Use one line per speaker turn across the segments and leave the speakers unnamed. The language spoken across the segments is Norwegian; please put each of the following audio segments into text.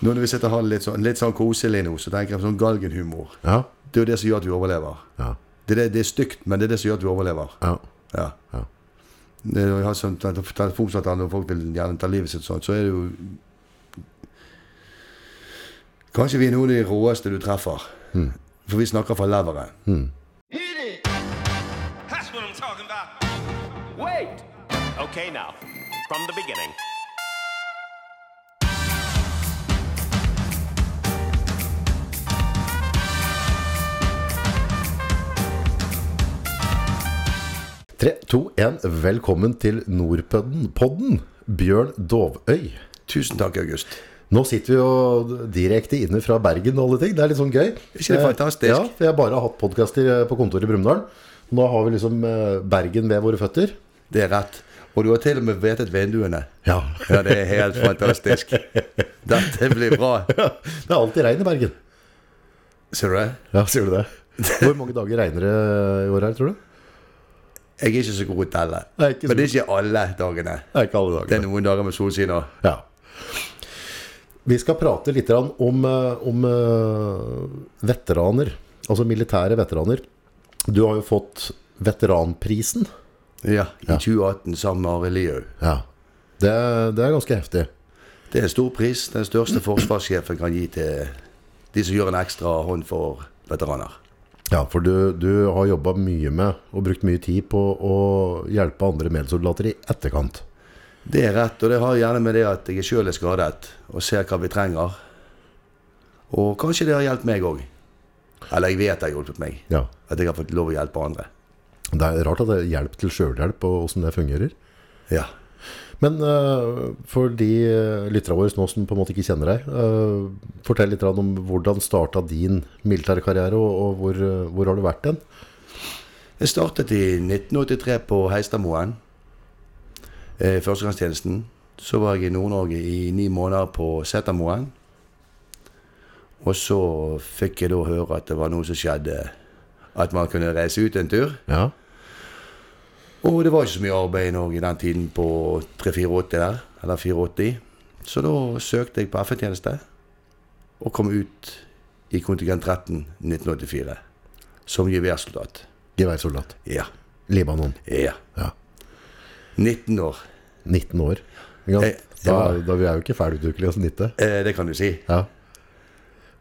Nå når vi sitter og har det litt sånn, litt sånn koselig nå, så tenker jeg på sånn galgenhumor.
Ja.
Det er jo det som gjør at vi overlever.
Ja.
Det er, det, det er stygt, men det er det som gjør at vi overlever.
Ja.
Ja.
Ja.
Det er, jo- jeg har sånn tele- telefonsamtaler når folk vil gjerne ta livet sitt sånn, så er det jo Kanskje vi er noen av de råeste du treffer.
Mm.
For vi snakker fra leveren.
Hit it!
That's what I'm talking about.
Wait!
Okay, now, from the beginning.
Tre, to, en. Velkommen til Nordpodden. Podden. Bjørn Dovøy.
Tusen takk, August.
Nå sitter vi jo direkte inne fra Bergen og alle ting. Det er litt sånn gøy.
ikke det
Eh,
fantastisk?
Ja, for jeg har bare hatt podkaster eh, på kontoret i Brumunddal. Nå har vi liksom eh, Bergen ved våre føtter.
Det er rett. Og du har til og med hvetet vinduene.
Ja.
Ja, det er helt fantastisk. Dette blir bra.
Det er alltid regn i Bergen.
Ser du det?
Ja, sier du det? Hvor mange dager regner det i år her, tror du?
Jeg er ikke så god til å telle.
Nei, ikke så
Men det er ikke alle dagene.
Det er ikke alle
Det er
dager.
noen dager med solskinner.
Ja. Vi skal prate litt grann om, eh, om eh, veteraner, altså militære veteraner. Du har jo fått veteranprisen.
Ja, i 2018 sammen med Arild Lihaug.
Ja. Det, det er ganske heftig.
Det er en stor pris. Den største forsvarssjefen kan gi til de som gjør en ekstra hånd for veteraner.
Ja, for du, du har jobba mye med og brukt mye tid på å hjelpe andre medsoldater i etterkant.
Det er rett, og det har gjerne med det at jeg sjøl er skadet, og ser hva vi trenger. Og kanskje det har hjulpet meg òg. Eller jeg vet det har hjulpet meg.
Ja.
At jeg har fått lov å hjelpe andre.
Det er rart at det er hjelp til sjølhjelp og åssen det fungerer.
Ja.
Men eh, for de eh, lytterne våre nå som på en måte ikke kjenner deg, eh, fortell litt grann om hvordan starta din militære karriere, og, og hvor, eh, hvor har du vært den?
Jeg startet i 1983 på Heistadmoen. eh, Førstegangstjenesten. Så var jeg i Nord-Norge i ni måneder på Setermoen. Og så fikk jeg da høre at det var noe som skjedde. At man kunne reise ut en tur.
Ja.
Og det var ikke så mye arbeid i Norge i den tiden på 384 der, eller 84. Så da søkte jeg på FN-tjeneste, og kom ut i kontingent 13 1984 som geværsoldat.
Geværsoldat.
Ja.
Libanon.
Ja.
Ja.
19 år.
19 år. Ikke
Jeg-
sant? Da,
ja.
da vi er jo ikke ferdigutvikla som 90.
Eh, det kan du si.
Ja.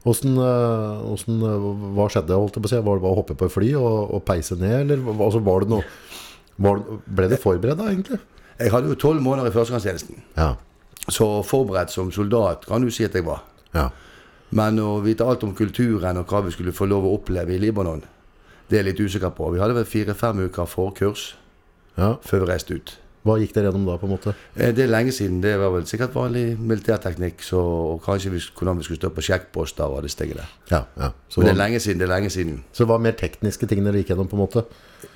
Hvordan, eh, hvordan, eh, hva skjedde? Holdt jeg på å si? Var det bare å hoppe på et fly og, og peise ned? Eller hva- altså, var det noe var, det- Ble det forberedt, da, egentlig?
Jeg hadde jo tolv måneder i førstegangstjenesten,
Ja.
så forberedt som soldat kan du si at jeg var.
ja.
Men å vite alt om kulturen og hva vi skulle få lov å oppleve i Libanon, det er jeg litt usikker på. Vi hadde vel fire-fem uker forkurs
Ja.
før vi reiste ut.
Hva gikk dere gjennom da, på en måte?
Eh, Det er lenge siden. Det var vel sikkert vanlig militærteknikk. Så, og kanskje vi, skulle- hvordan vi skulle stå på sjekkposter og det stinget der.
Ja, ja. Så,
Men det er
hva,
lenge siden. det er lenge siden.
så det var mer tekniske ting dere gikk gjennom, på en måte?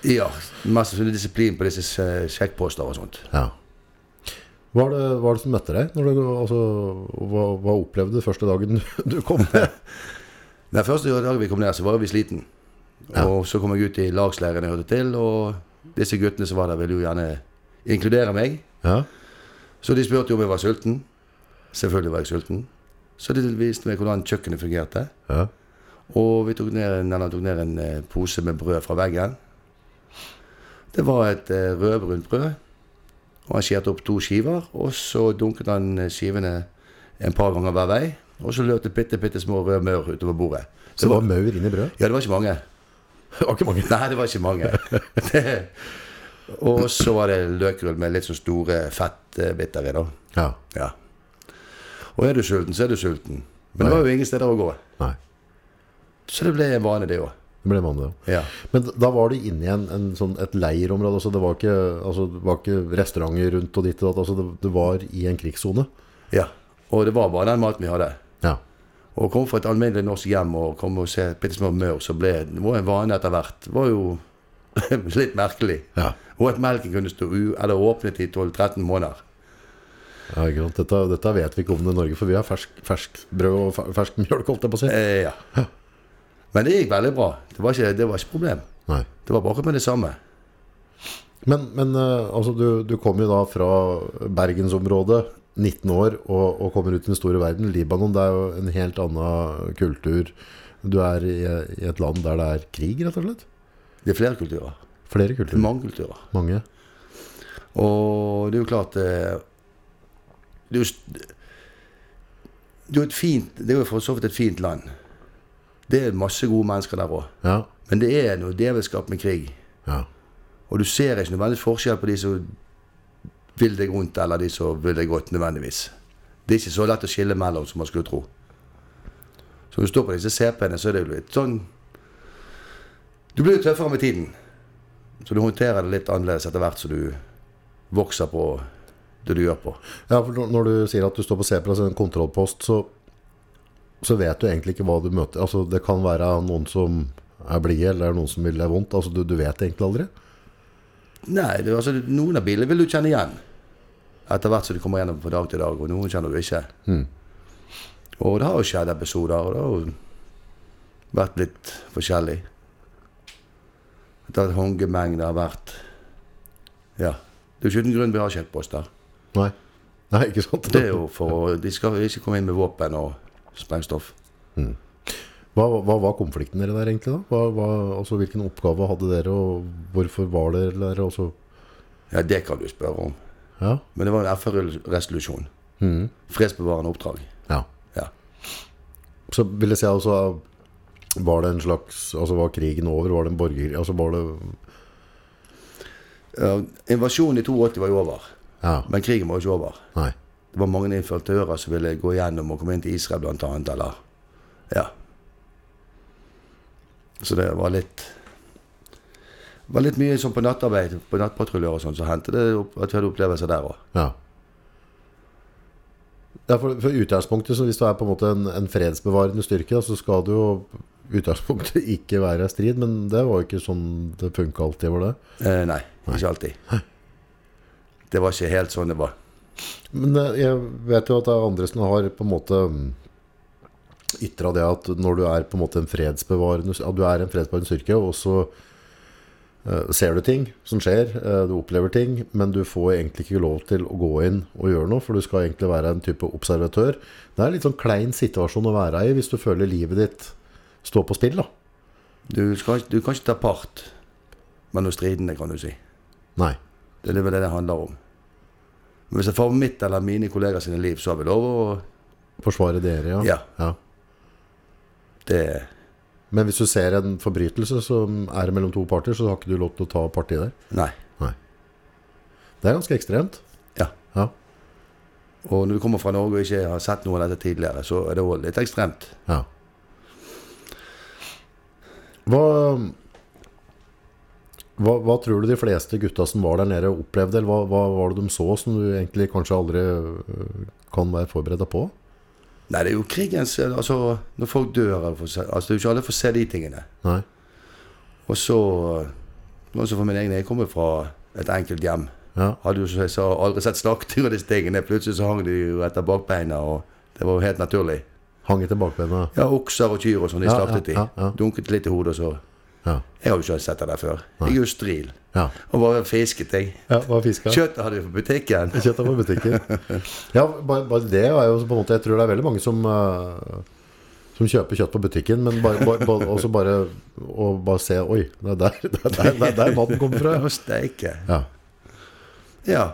Ja, Mest sannsynlig disiplin på disse eh, sjekkposter og sånt.
Ja. Hva var det, hva var det som møtte deg? Når du, altså, hva, hva opplevde du første dagen du kom ned?
Den første dagen vi kom ned, så var vi sliten. Og så kom jeg ut i lagsleiren jeg hørte til, og disse guttene som var der, ville jo gjerne inkludere meg.
Ja.
Så de spurte jo om jeg var sulten. Selvfølgelig var jeg sulten. Så de viste meg hvordan kjøkkenet fungerte.
ja.
Og vi tok ned, en- eller tok ned en eh, pose med brød fra veggen. Det var et eh, rødbrunt brød. Og han skjerte opp to skiver, og så dunket han eh, skivene en par ganger hver vei. Og så løp det bitte, bitte små røde maur utover bordet.
Så det var maur inni brødet?
Ja, det var ikke mange.
Det var ikke mange.
Nei, det var ikke mange. Det- og så var det løkrull med litt så store fettbiter i, da.
Ja.
Ja. Og er du sulten, så er du sulten. Men det var jo ingen steder å gå.
Nei.
Så det ble en vane, det òg.
Det ble mandag.
Ja.
Men da var du inne i en, en sånn, et leirområde, altså det, var ikke, altså det var ikke restauranter rundt og ditt og datt, altså det, det var i en krigssone.
Ja, og det var bare den maten vi hadde.
Ja.
Og å komme fra et alminnelig norsk hjem og komme og se bitte små maur, så ble det var en vane etter hvert. Det var jo litt merkelig.
Ja.
Og at melken kunne stå u, eller åpnet i 12-13 måneder.
ikke sant? Dette, dette vet vi ikke om det i Norge, for vi har fersk, fersk brød og fer- fersk mjølk, holdt jeg på å si.
Eh, ja. Men det gikk veldig bra. Det var ikke, det var ikke problem.
Nei.
Det var bare med det samme.
Men, men eh, altså, du, du kom jo da fra bergensområdet 19 år og, og kommer ut i den store verden. Libanon det er jo en helt annen kultur. Du er i, i et land der det er krig, rett og slett.
Det er flere kulturer.
Flere
Det er
kulturer.
mange kulturer.
Mange.
Og det er jo klart eh, Det er jo st- det er jo et fint Det er jo for så vidt et fint land. Det er masse gode mennesker der òg.
Ja.
Men det er noe djevelskap med krig.
ja.
Og du ser ikke nødvendigvis forskjell på de som vil deg vondt, eller de som vil deg godt, nødvendigvis. Det er ikke så lett å skille mellom som man skulle tro. Så når du står på disse CP-ene, så er det jo litt sånn Du blir jo tøffere med tiden. Så du håndterer det litt annerledes etter hvert som du vokser på det du gjør på.
Ja, for når- når du sier at du står på CP, altså en kontrollpost, så, så vet du egentlig ikke hva du møter. Altså, det kan være noen som er blide, eller noen som vil deg vondt. Altså, du, du vet egentlig aldri.
Nei, det, altså, noen av bilene vil du kjenne igjen. Etter hvert som du kommer gjennom fra dag til dag, og noen kjenner du ikke. Og det har jo skjedd episoder, og det har jo vært litt forskjellig. Det har vært håndgemeng, det har vært Ja. Det er jo ikke uten grunn vi har skjeltposter.
Nei. Nei, ikke sant?
Det er jo for De skal jo ikke komme inn med våpen og sprengstoff.
Hva, hva var konflikten dere der egentlig da? Hva, hva, altså, hvilken oppgave hadde dere, og hvorfor var dere der? Også?
Ja, det kan du spørre om.
Ja.
Men det var en FN-resolusjon. Fredsbevarende oppdrag.
ja.
Ja.
Så vil jeg si altså, var det en slags, altså var krigen over, var det en borgerkrig, altså var det,
Ja, invasjonen i 82 var jo over.
ja,
Men krigen var jo ikke over.
nei,
Det var mange infiltører som ville gå gjennom og komme inn til Israel blant annet, eller Ja. Så det var litt det var litt mye sånn på nattarbeid, på nattpatruljer og sånn, så hendte det opp- at vi hadde opplevelser der òg.
ja. Ja, for, for utgangspunktet, så hvis du er på en måte en, en fredsbevarende styrke, da, så skal du jo utgangspunktet ikke være i strid, men det var jo ikke sånn det funket alltid, var det?
Eh, nei, ikke alltid. Det var ikke helt sånn det var.
Men eh, jeg vet jo at det er andre som har på en måte ytra det at når du er på en måte en fredsbevarende at du er en fredsbevarende styrke, og så eh, ser du ting som skjer, eh, du opplever ting, men du får egentlig ikke lov til å gå inn og gjøre noe, for du skal egentlig være en type observatør. Det er en litt sånn klein situasjon å være i hvis du føler livet ditt står på spill, da.
Du, skal, ikke- du kan ikke ta part mellom stridene, kan du si.
Nei.
Det er vel det det handler om. Men hvis det får mitt eller mine kolleger sine liv, så har vi lov å
Forsvare dere, ja.
Ja.
ja.
Det
Men hvis du ser en forbrytelse som er mellom to parter, så har ikke du lov til å ta parti der.
Nei.
Nei. Det er ganske ekstremt.
Ja.
Ja.
Og når du kommer fra Norge og ikke har sett noe av dette tidligere, så er det også litt ekstremt.
ja. Hva, hva, hva tror du de fleste gutta som var der nede, opplevde? Eller hva, hva var det de så som du egentlig kanskje aldri øh, kan være forberedt på?
Nei, det er jo krigens Altså, når folk dør eller får se, altså, Det er jo ikke alle får se de tingene.
Nei.
Og så Også for min egen Jeg kommer fra et enkelt hjem.
Ja.
Hadde jo som jeg sa, aldri sett slakting og disse tingene. Plutselig så hang de jo etter bakbeina, og det var jo helt naturlig.
Hang etter bakbena.
Ja, okser og kyr og sånn, de
Ja,
slaktet de.
ja, ja, ja.
Dunket litt i hodet, og så
Ja.
Jeg har jo ikke sett det der før. Jeg er jo stril.
Ja.
Og bare fisket, jeg.
ja var fiska.
Kjøttet hadde vi på butikken.
Kjøttet på butikken. Ja, bare, bare det er jo på en måte Jeg tror det er veldig mange som eh, Som kjøper kjøtt på butikken, men bare, bare, bare, også bare Og bare se Oi, det er der, det er der, det er der maten kommer fra.
Å steike.
Ja.
Ja.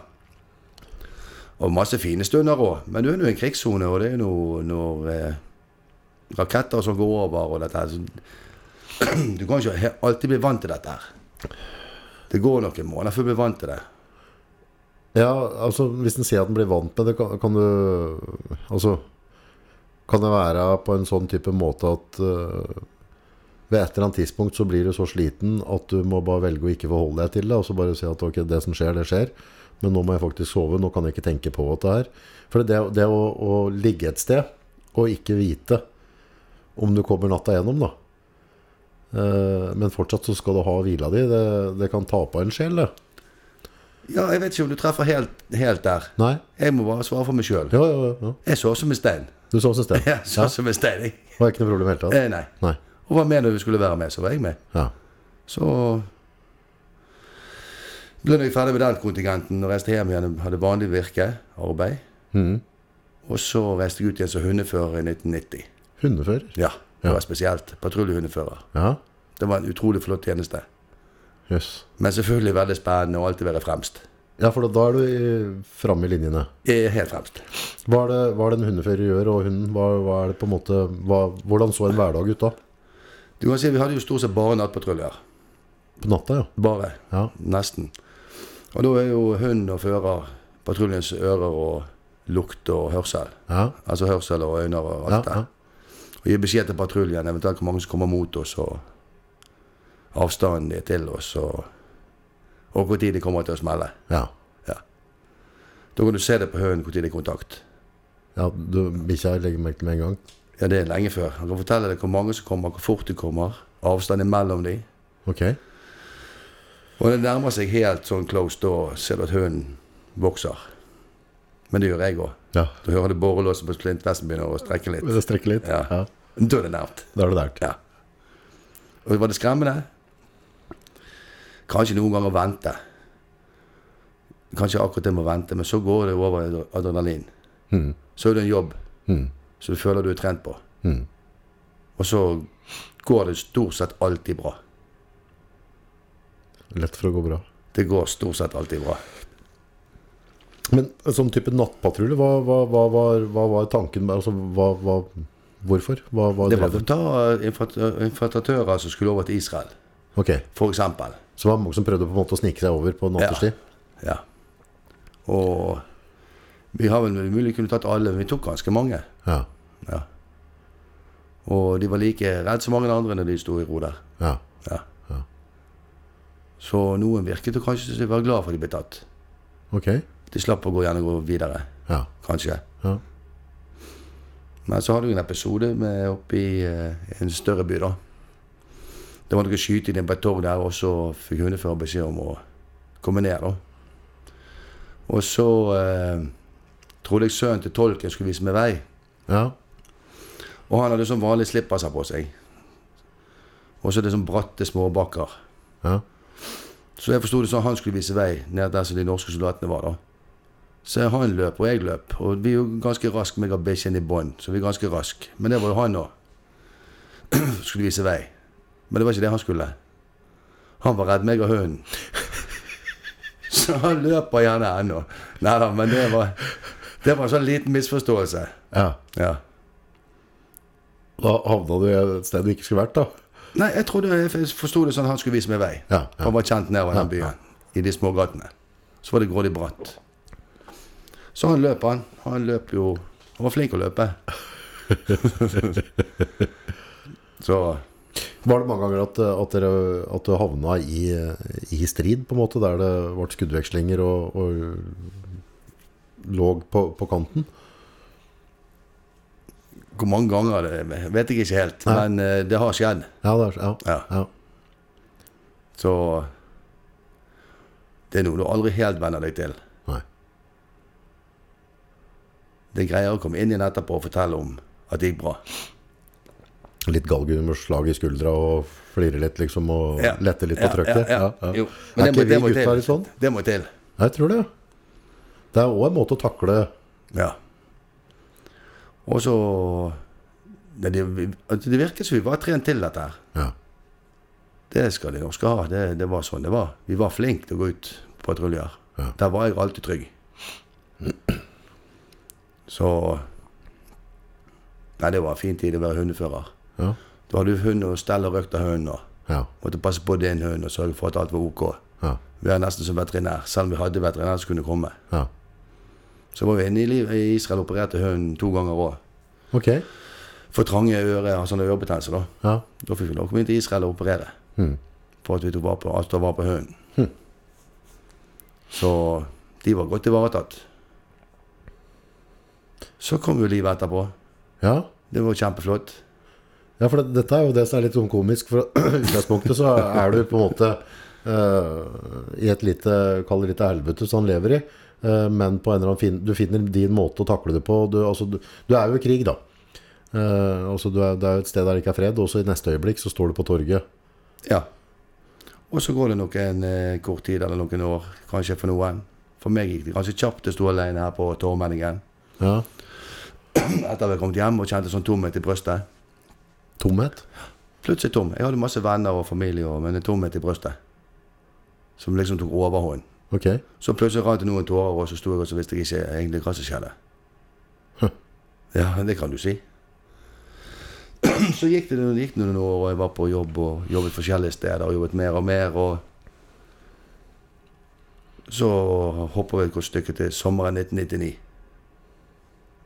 Og masse fine stunder òg. Men du er nå i en krigssone, og det er nå når eh, raketter som går over og dette her. Så du kan ikke he- alltid bli vant til dette her. Det går noen måneder før du blir vant til det.
ja, altså hvis en sier at en blir vant med det, kan, kan du Altså Kan det være på en sånn type måte at eh, ved et eller annet tidspunkt så blir du så sliten at du må bare velge å ikke forholde deg til det, og så bare si at ok, det som skjer, det skjer, men nå må jeg faktisk sove, nå kan jeg ikke tenke på dette her. For det, det å, å ligge et sted og ikke vite om du kommer natta gjennom da, eh, men fortsatt så skal du ha hvila di, det, det kan ta på en sjel det.
Ja, jeg vet ikke om du treffer helt, helt der.
Nei?
Jeg må bare svare for meg sjøl.
Ja, ja, ja.
Jeg sov som en stein.
Du så synes det.
Jeg sov som en stein, jeg.
Det var ikke noe problem i det hele tatt.
Eh, nei.
Nei.
Og var med når du skulle være med, så var jeg med.
Ja.
Så ble jeg ferdig med den kontingenten og reiste hjem igjen og hadde vanlig virke, arbeid.
Mm.
Og så reiste jeg ut igjen som hundefører i 1990.
Hundefører?
Ja, det
Ja.
var spesielt. Patruljehundefører.
Ja.
Det var en utrolig flott tjeneste.
Jøss.
Men selvfølgelig veldig spennende å alltid være fremst.
Ja, for da, da er du i- framme i linjene.
Eh, Helt fremst.
Hva er det, hva er det en hundefører gjør, og hunden, hva, hva er det på en måte hva, Hvordan så en hverdag ut da?
Du kan si Vi hadde jo stort sett bare nattpatruljer.
På natta, ja.
Bare.
Ja.
Nesten. Og da er jo hund og fører patruljens ører og lukt og hørsel.
ja.
Altså hørsel og øyne og
ja,
alt det.
ja.
Og gi beskjed til patruljen, eventuelt hvor mange som kommer mot oss, og avstanden de er til oss, og, og hvor tid de kommer til å smelle.
ja.
Ja. Da kan du se det på hunden hvor tid det er kontakt.
ja du, Bikkja legger merke til med en gang.
Ja, det er lenge før. Han kan fortelle deg hvor mange som kommer, hvor fort de kommer, avstanden mellom dem.
Ok.
Og det nærmer seg helt sånn close, da ser du at hunden vokser. Men det gjør jeg òg.
Ja.
Da hører du borrelåsen på splintvesten begynner å strekke litt.
Vil det strekke litt?
Ja.
ja.
Da er det nært.
Da er det der.
Ja. Og var det skremmende? Kanskje noen ganger vente. Kanskje akkurat det med å vente, men så går det over i adrenalin. Så er det en jobb som du føler du er trent på. Hmm. Og så går det stort sett alltid bra.
Lett for å gå bra.
Det går stort sett alltid bra.
Men en sånn type nattpatrulje, hva, hva, hva, var- hva var tanken med altså, hva, hva, Hvorfor? Hva, hva
Det var
drev
for å
den?
ta eh, infiltrat- infiltratører som skulle over til Israel,
Ok,
for eksempel.
så det var mange som prøvde på en måte å snike seg over på nattestid?
Ja. Og vi har vel mulig kunne tatt alle, men vi tok ganske mange.
Ja.
Ja. Og de var like redd som mange andre når de sto i ro der.
ja.
Ja. Så noen virket å kanskje være glad for at de ble tatt.
Ok.
De slapp å gå gjerne gå videre,
Ja.
kanskje.
Ja.
Men så hadde vi en episode med oppe i eh, en større by, da. Det var noe skyting inne på et torg der, og så fikk hundefører beskjed om å komme ned, da. Og så eh, trodde jeg sønnen til tolken skulle vise meg vei.
ja.
Og han hadde sånn vanlig slipperser på seg. Og så er det sånn bratte småbakker.
ja.
Så jeg forsto det sånn at han skulle vise vei ned der som de norske soldatene var, da. Så han løp, og jeg løp. Og vi er jo ganske raske, meg og bikkjen i bånd. Så vi er ganske raske. Men det var jo han òg. skulle vise vei. Men det var ikke det han skulle. Han var redd meg og hunden. Så han løper gjerne ennå. Nei da, men det var, det var en sånn liten misforståelse.
ja.
Ja.
Da havna du et sted du ikke skulle vært, da.
Nei, jeg trodde jeg forsto det sånn at han skulle vise meg vei.
Ja, ja.
Han var kjent nedover i den
Ja,
byen, i de små gatene. Så var det grådig bratt. Så han løp, han. Han løp jo Han var flink å løpe. Så
Var det mange ganger at, at, dere, at du havna i, i strid, på en måte, der det ble skuddvekslinger og, og lå på, på kanten?
hvor mange ganger, det vet jeg ikke helt. Men eh, det har skjedd.
Ja, det er, ja.
Ja.
ja.
Så det er noe du aldri helt venner deg til.
Nei.
Det greier å komme inn igjen etterpå og fortelle om at det gikk bra.
Litt galgummerslag i skuldra og flire litt, liksom, og
Ja.
lette litt
Ja,
på trøkket.
ja, ja. Jo. Men
Er
det må-
ikke
det må
vi gutta
til.
litt sånn?
Det må til.
Nei, Jeg tror det. Det er òg en måte å takle
Ja. Og så det, det, det virker som vi var trent til dette her.
Ja.
Det skal de norske ha. Det, det var sånn det var. Vi var flinke til å gå ut på patruljer.
Ja.
Der var jeg alltid trygg. Så Nei, det var en fin tid å være hundefører.
Ja.
Da hadde du hund og stell og røkt av hunden. Og
Ja.
måtte passe på din hund og sørge for at alt var ok.
Ja.
Vi var nesten som veterinær, selv om vi hadde veterinær som kunne komme.
ja.
Så var vi inne i liv- i Israel og opererte hunden to ganger òg.
Ok.
for trange øre, altså sånne ørebetennelse. Da
Ja.
Da fikk vi lov å komme inn til Israel og operere. For at vi tok vare på, altså, vare på hunden. Så de var godt ivaretatt. Så kom jo livet etterpå.
Ja.
Det var kjempeflott.
Ja, for det, dette er jo det som er litt sånn komisk. For i utgangspunktet så er du på en måte eh, i et lite Kall det lite helvete som han lever i. eh, men på en eller annen fin, du finner din måte å takle det på. Du, altså, du, du er jo i krig, da. Eh, altså, du er, det er jo et sted der det ikke er fred, og så i neste øyeblikk så står du på torget.
Ja. Og så går det noen eh, kort tid eller noen år, kanskje for noen. For meg gikk det ganske kjapt. Jeg sto alene her på Torvmenningen.
Ja.
etter at jeg kom hjem og kjente sånn tomhet i brystet.
Tomhet?
Plutselig tom. Jeg hadde masse venner og familie, og- men en tomhet i brystet. Som liksom tok overhånd.
Ok.
Så plutselig rant det noen tårer, og så sto jeg og så visste jeg ikke egentlig hva som skjedde. Ja, det kan du si. Så gikk det, noen- gikk det noen år, og jeg var på jobb og jobbet forskjellige steder. og Jobbet mer og mer. og Så hopper vi et godt stykke til sommeren 1999.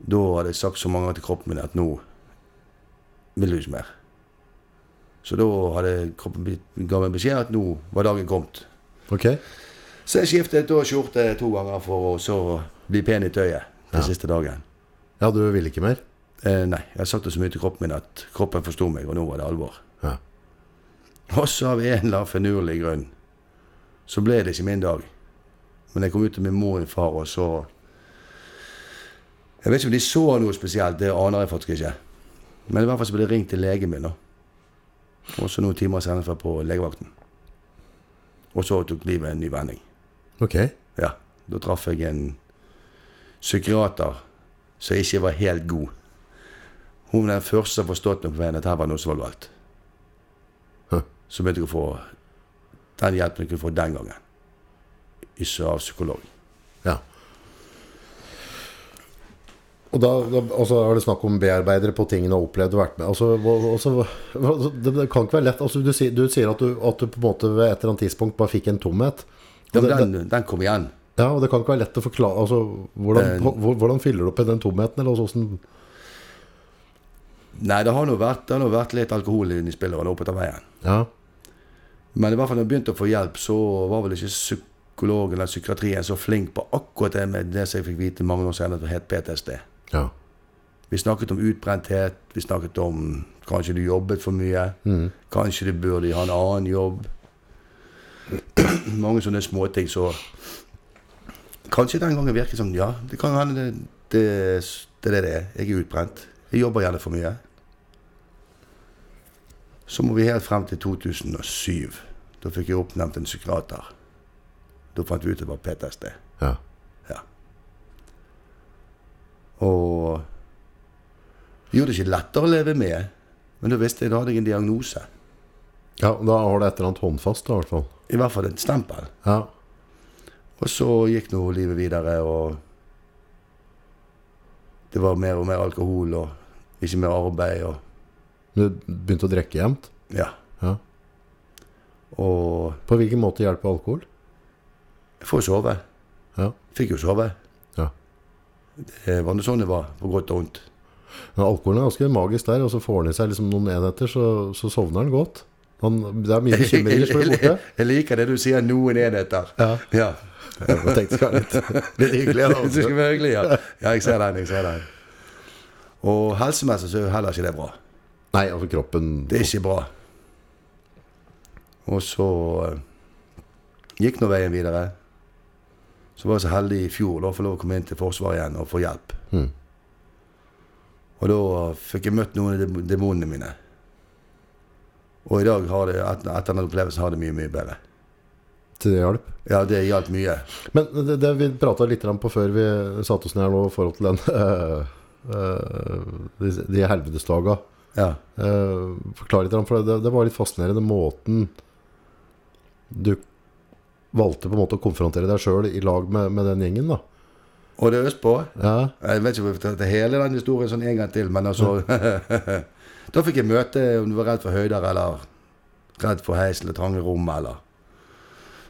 Da hadde jeg sagt så mange ganger til kroppen min at nå vil du ikke mer. Så da hadde kroppen blitt- ga meg beskjed at nå var dagen kommet.
Ok.
Så jeg skiftet da skjorte to ganger for å så bli pen i tøyet den siste dagen.
Ja, du vil ikke mer?
Eh, nei, jeg har sagt det så mye til kroppen min at kroppen forsto meg, og nå var det alvor.
Ja.
Og så av en eller annen finurlig grunn så ble det ikke min dag. Men jeg kom ut til min mor og min far, og så Jeg vet ikke om de så noe spesielt, det aner jeg faktisk ikke. Men i hvert fall så ble det ringt til legen min, da. Og så noen timer senere fra på legevakten. Og så tok livet en ny vending.
Ok.
Ja, da traff jeg en psykiater som ikke var helt god. Hun var den første som forstått meg på veien at her var noe som var galt.
Hæ.
Så begynte jeg å få den hjelpen jeg kunne få den gangen. Ikke av psykolog.
Ja. Og da, da altså, er det snakk om bearbeidere på ting du har opplevd og vært med altså, hva- altså, hva- det, det kan ikke være lett. Altså, du, sier, du sier at du, at du på en måte ved et eller annet tidspunkt bare fikk en tomhet.
Ja,
Og
men
det, det,
den, den kom igjen.
ja, og det kan ikke være lett å forklare altså, hvordan,
Eh,
hvor- hvordan fyller du opp i den tomheten? Eller altså, hvordan-
Nei, det har nå vært, det har nå vært litt alkohol inne i spillet og det er oppe etter veien.
ja.
Men i hvert fall når jeg begynte å få hjelp, så var vel ikke psykologen eller psykiatrien så flink på akkurat det med det som jeg fikk vite mange år senere at det het PTSD.
ja.
Vi snakket om utbrenthet, vi snakket om kanskje du jobbet for mye, kanskje du burde ha en annen jobb. Mange sånne småting så Kanskje den gangen virket som ja, det kan hende det, det, det er det det er. Jeg er utbrent. Jeg jobber gjerne for mye. Så må vi helt frem til 2007. Da fikk jeg oppnevnt en psykiater. Da fant vi ut det var PTSD.
ja.
Ja. Og gjorde det ikke lettere å leve med, men da visste jeg da hadde jeg en diagnose.
Ja, Da har du et eller annet håndfast, da, i hvert fall.
I hvert fall et stempel.
Ja.
Og så gikk nå livet videre, og det var mer og mer alkohol og ikke mer arbeid og
Du begynte å drikke jevnt?
Ja.
Ja.
Og
På hvilken måte hjelper alkohol?
jeg får jo sove.
Ja.
Fikk jo sove.
ja.
Det var nå sånn det var, på godt og vondt.
Men alkoholen er ganske magisk der, og så får han i seg liksom noen enheter, så, så sovner han godt. Han, det er mye
Jeg,
bekymringer som blir borte.
jeg liker det du sier, noen enheter.
Ja.
ja.
Jeg tenkte skal være litt, litt hyggelig.
Det altså.
da.
skal være hyggelig, ja. ja. Jeg ser den, jeg ser den. Og helsemessig så er jo heller ikke det bra.
Nei, altså kroppen
Det er ikke bra. Og så eh, gikk nå veien videre. Så var jeg så heldig i fjor da å få lov å komme inn til Forsvaret igjen og få hjelp. Og da fikk jeg møtt noen av dem- demonene mine. Og i dag har det, etter, etter den opplevelsen har det mye, mye bedre.
til hjelp.
Ja, det hjalp mye.
Men det, det vi prata litt grann på før vi satte oss ned her nå, i forhold til den eh, eh, De, de helvetesdaga.
Ja.
Uh, forklar litt, grann, for det, det var litt fascinerende måten du valgte på en måte å konfrontere deg sjøl i lag med, med den gjengen, da.
Og det er østpå.
Ja,
Jeg vet ikke om jeg fortalte hele den historien sånn en gang til, men altså Da fikk jeg møte om du var redd for høyder eller redd for heis eller trange rom eller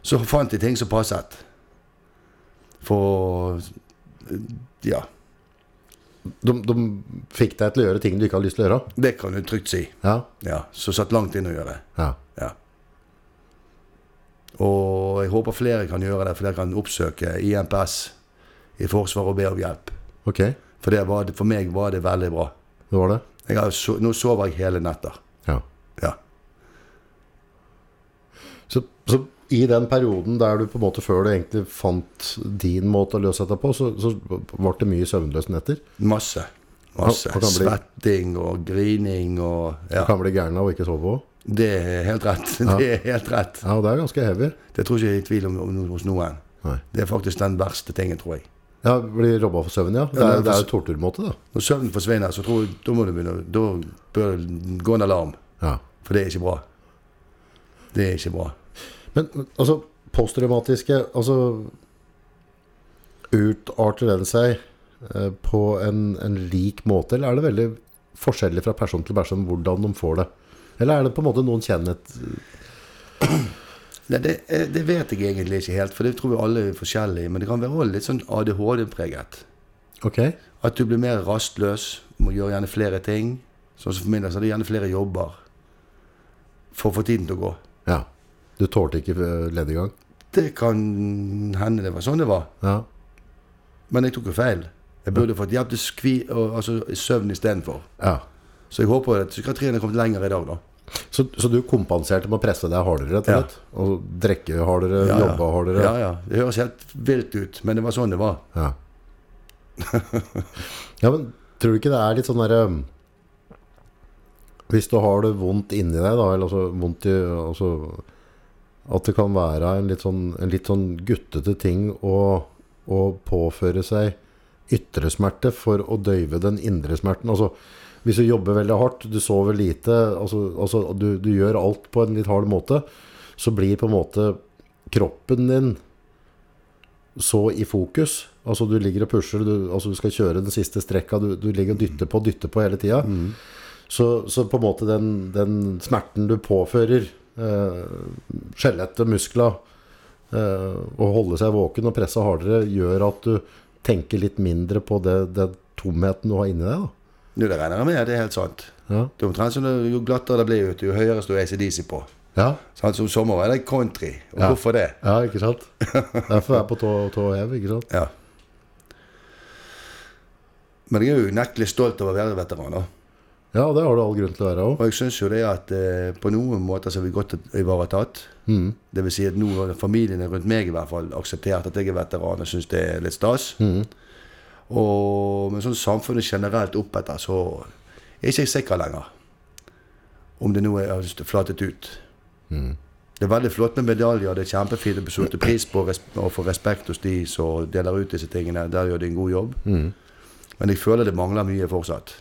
Så fant jeg ting som passet. For Ja,
de, de fikk deg til å gjøre ting du ikke hadde lyst til å gjøre.
det kan du trygt si.
Ja,
Ja, Så satt langt inn å gjøre.
ja,
Ja. Og jeg håper flere kan gjøre det, for dere kan oppsøke IMPS i Forsvaret og be om hjelp.
ok, det
For, det var, for meg var det veldig bra.
var det.
Jeg har, so- nå sover jeg hele netter.
Ja.
Ja.
Så, så i den perioden der du på en måte før du egentlig fant din måte å løse dette på, så, så ble det mye søvnløse netter.
Masse. Masse.
Og- og kan bli-
Svetting og grining og ja.
Du kan bli gæren av å ikke sove òg.
Det er helt rett. Det er helt rett.
Ja, og det er ganske heavy.
Det tror ikke jeg er i tvil om, om hos noen.
Nei.
Det er faktisk den verste tingen, tror jeg.
Ja, Blir robba for søvn, ja. Det
Ja,
er,
det er
det er
for-
jo torturmåte, da.
Når søvnen forsvinner, så tror jeg, da må du begynne, å- da bør det gå en alarm.
Ja.
For det er ikke bra. Det er ikke bra.
Men altså, posttraumatiske Altså Utarter den seg eh, på en, en lik måte, eller er det veldig forskjellig fra person til person hvordan de får det? Eller er det på en måte noen kjennhet
Nei, det, eh, det vet jeg egentlig ikke helt, for det tror vi alle er forskjellige. Men det kan være også litt sånn ADHD-preget.
Ok.
At du blir mer rastløs, må gjøre gjerne flere ting. Sånn som for min del, så er det gjerne flere jobber for å få tiden til å gå.
Ja. Du tålte ikke eh, lediggang?
Det kan hende det var sånn det var.
Ja.
Men jeg tok jo feil. Jeg burde fått hjelp til skvi, og, altså, søvn istedenfor.
ja.
Så jeg håper at psykiatrien har kommet lenger i dag, da.
Så, så du kompenserte med å presse deg hardere, rett og
Ja.
slett? Og drikke hardere,
Ja, ja.
jobbe hardere?
Ja, ja. Det høres helt vilt ut, men det var sånn det var.
Ja. ja, men tror du ikke det er litt sånn derre Hvis du har det vondt inni deg, da, eller altså vondt i Altså at det kan være en litt sånn, en litt sånn guttete ting å, å påføre seg ytre smerte for å døyve den indre smerten. Altså hvis du jobber veldig hardt, du sover lite, altså, altså du, du gjør alt på en litt hard måte, så blir på en måte kroppen din så i fokus. Altså du ligger og pusher, du, altså, du skal kjøre den siste strekka, du, du ligger og dytter på og dytter på hele tida. Så, så på en måte den, den smerten du påfører eh, skjelettet, muskla, eh, å holde seg våken og presse hardere, gjør at du tenker litt mindre på det, den tomheten du har inni deg. Da.
Nå, det regner jeg med, det er helt sant.
Ja.
Det er omtrent som det- jo glattere det blir ut, jo høyere står ACDC på.
Ja.
Sånn som sommer er det country. Og
Ja.
hvorfor det?
ja, ikke sant? Derfor er jeg på tå tå hev, ikke sant?
Ja. Men jeg er jo unektelig stolt over å være veteran. da.
Ja, det har du all grunn til å være òg.
Og jeg syns jo det at eh, på noen måter så er vi godt ivaretatt. Det vil si at nå har familiene rundt meg i hvert fall akseptert at jeg er veteran og syns det er litt stas. Og, men sånn samfunnet generelt oppetter, så er ikke jeg sikker lenger. Om det nå er har flatet ut. Det er veldig flott med medaljer, det er kjempefint å besøke pris på res- og få respekt hos de som deler ut disse tingene. Der gjør de en god jobb. Men jeg føler det mangler mye fortsatt.